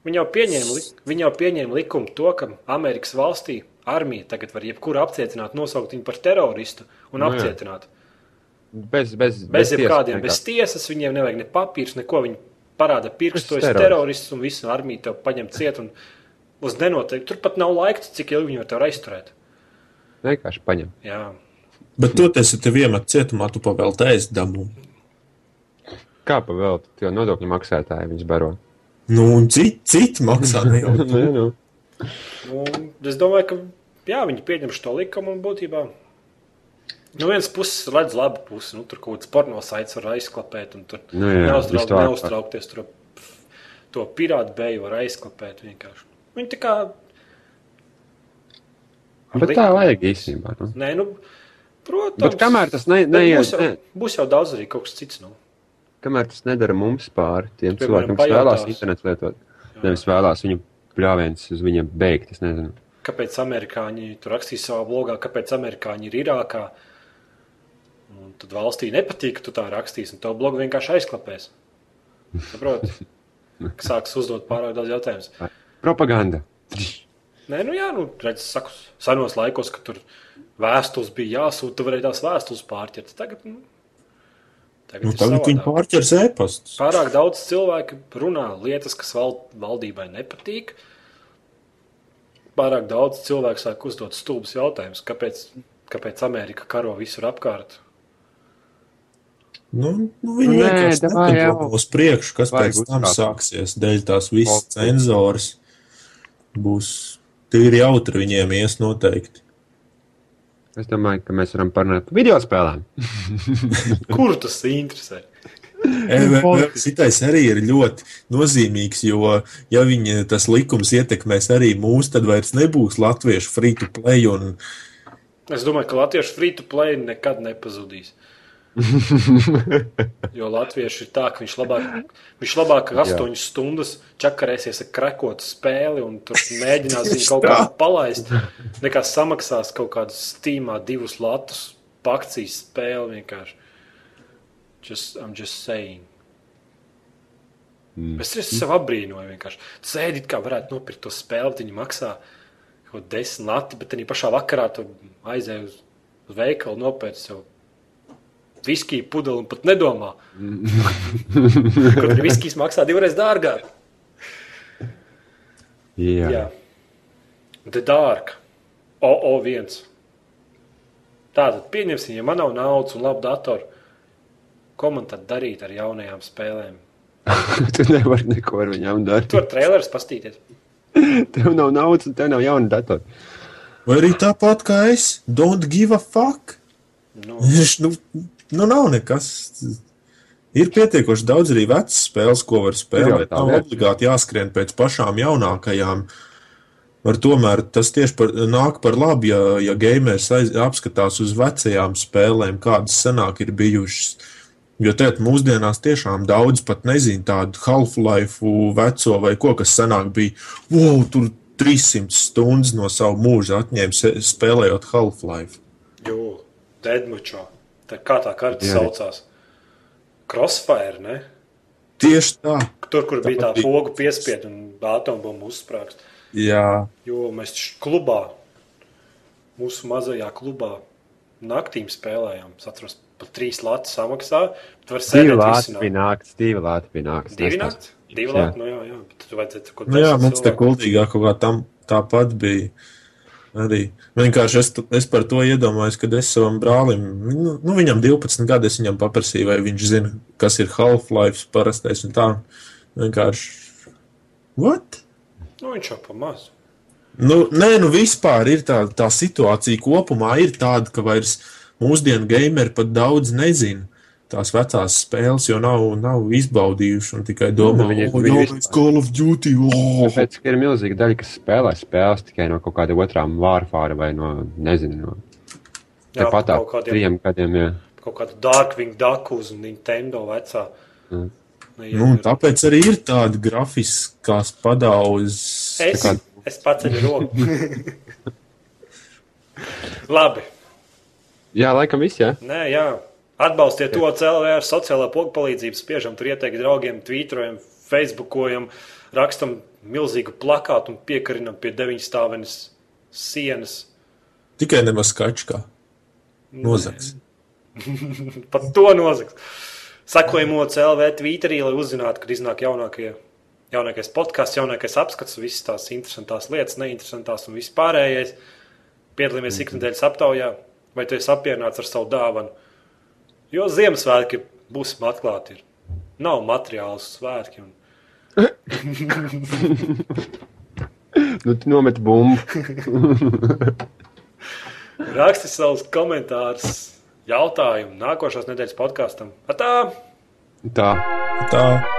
Viņa jau pieņēma, li- viņa jau pieņēma likumu to, ka Amerikas valstī armija tagad var jebkuru apcietināt, nosaukt viņu par teroristu un Nu jā. apcietināt. Bez, bez, Bez jebkādiem, bez tiesas tiesas, viņiem nevajag ne papīrs, neko. Viņi parāda pirkstu, Tas tu esi terorists. terorists un visu armiju tev paņem ciet. un Uz nenoteikti. Tur pat nav laika, cik ilgi viņi var tevi aizturēt. vienkārši- Vienkārši paņem. Jā, Bet to tas ir tev iemet cietumā, tu pavēlties dabu. Kā pavēlēt, jo nodokļu maksātāji viņus baro. Nu, un citi cit maksā. Ne jau tu. (laughs) Nē, nu. Un es domāju, ka jā, viņi pieņem šo likumu un būtībā. No nu, vienas puses, redz labu pusi. Nu, tur kaut kāds pornogrāfijas var aizklāpēt, un tur Nu jā, viss tā var. neuztraukties. Tur pf, to pirātu beju var aizklāpēt vienkārši. Viņi tā kā. Bet tā vajag īstenībā. Nu. Nē, nu, Bet protams. kamēr tas ne, Bet būs, neies, jau, ne, būs jau daudz arī kaut kas cits. Nu. kamēr tas nedara mums pāri, tiem Piemēram, cilvēkiem, kas vēlās pajautās. internetu lietot, nevis vēlās viņu pļāviens uz viņiem beigt. Es nezinu. Kāpēc amerikāņi tur rakstīja savā blogā, kāpēc amerikāņi ir Irākā? Un tad valstī nepatīk, ka tu tā rakstīsi, un tev blogu vienkārši aizklāpēs. Saproti? (laughs) Ka Sāks uzdot pārāk daudz jautājumu. Propaganda. Nē, nu jā, nu, redziet, saku, senos laikos, kad tur vēstules bija jāsūta, tu varēji tās vēstules pārķert. Tagad, nu, tagad, Nu, ir tagad viņi savādāk. pārķers ēpastus. Pārāk daudz cilvēku runā lietas, kas val, valdībai nepatīk. Pārāk daudz cilvēku sāk uzdot stulbus jautājumus, kāpēc, kāpēc Amerika karo visur apkārt. Nu, nu, viņi Nē, vienkārši davai jau. nepadomā uz priekšu, kas Vajag pēc tam uzkāpt. sāksies. Dēļ tās visas Valsts. cenzors būs tīri jautri viņiem ies noteikti. Es domāju, ka mēs varam parunāt par video spēlēm. Kur tas interesē? EVP E, Šitais arī ir ļoti nozīmīgs, jo, ja viņa tas likums ietekmēs arī mūs, tad vairs nebūs latviešu free to play. Un, Es domāju, ka latviešu free to play nekad nepazudīs. jo latvieši ir tā, ka viņš labāk, viņš labāk Jā. 8 stundas čakarēsies ar krekot spēli un tur mēģinās viņu kaut kā palaist, nekā samaksās kaut kādus stīmā divus latus pakcijas spēli vienkārši. Just, I'm just saying. Mm. Es es sev apbrīnoju vienkārši. Sēdīt, kā varētu nopirkt to spēli, bet viņi maksā kaut ko desmit lati, bet viņi pašā vakarā tu aizēju uz, uz veikalu, nopērci sev viskiju pudeli un (laughs) pat nedomā. Kaut arī viskijas maksā divreiz dārgāk. Jā, Jā. The Dark, OO1. Tātad, pieņemsim, ja man nav naudas un labu datoru, ko man tad darīt ar jaunajām spēlēm? (laughs) tu nevari neko ar viņiem darīt. Tur var trailerus pastīties. Tev nav naudas, un tev nav jauna datora. vai arī tāpat kā es, don't give a fuck. Nu, Viņš, nu, nu nav nekas. Ir pietiekoši daudz arī vecas spēles, ko var Jā, spēlēt. tā Nav lieta. obligāti jāskrien pēc pašām jaunākajām. Var tomēr tas tieši par, nāk par labu, ja, ja gamers aiz, apskatās uz vecajām spēlēm, kādas senāk ir bijušas. Jo tagad mūsdienās tiešām daudz pat nezina tādu Half-Life veco vai ko, kas senāk bija. Wow, tur 300 stundas no savu mūžu atņēma se- spēlējot Half-Life. Jū, Deadmučo. Tā kā tā karte Jā. saucās? Crossfire, ne? Tieši tā. Tur, kur bija tā bija. poga piespiedu un atombumbu uzsprāgst. Jā. Jo mēs š- klubā, mūsu mazajā klubā, naktīm spēlējām. Es atceros, pat trīs lati samaksā. Tur var Divi sēdēt lāti bija visi. nākts, divi lāti bija nākts. Divi Es tās- nakti? Divi Jā. lati, nu jā, jā. Bet tur vajadzētu kaut Nu, jā, desmit mums tā cilvēku. gudrīgāk kaut kā tam tāpat bija. Arī. Vienkārši es, t- es par to iedomājos, kad es savam brālim, nu, nu, viņam 12 gadi, es viņam paprasīju, vai viņš zina, kas ir Half-Life parastais un tā. Vienkārši. What? Nu, viņš jau pamaz. Nu, nē, nu vispār ir tā, tā situācija kopumā ir tāda, ka vairs mūsdienu gameri pat daudz nezina. Tās vecās spēles jau nav, nav izbaudījuši, un tikai domā, Nu, viņi- ka viņi tā ir vispār- Call of Duty. Oh! Tāpēc Nu, ka ir milzīga daļa, kas spēlē spēles tikai no kaut kāda otrām vārfāra vai no, nezinu, no Jā, tepat kaut ap kādiem trim gadiem. Jā. kaut kādu Darkwing Duck uz Nintendo vecā. Mm. Nu, Nu, un tāpēc arī ir tāda grafiskās padaudzes. Es, Tā kā- es paceļu roku. Labi, jā, laikam viss, jā. nē, jā. Atbalstiet to CLV ar sociālo pogu palīdzību. Spiežam, tur ieteikt draugiem, tvītrojam, facebookojam, rakstam milzīgu plakātu un piekarinam pie deviņas stāvenes sienas. Tikai nemaz kačkā. Nozags. Pat to nozags. Sakojam OCLV Twitterī, lai uzzinātu, kad iznāk jaunākie, jaunākais podkāsts, jaunākais apskats, visas tās interesantās lietas, neinteresantās un vispārējais. Piedalāmies ikdienas aptaujā, vai tu esi apmierināts ar savu dāvanu. Jo Ziemassvētki būsim atklāti. Ir. Nav materiālu svētki. Un... Nu, tu nometi bumbu. Raksti savus komentārus, jautājumu nākošās nedēļas podkāstam. Atā! Tā. Tā.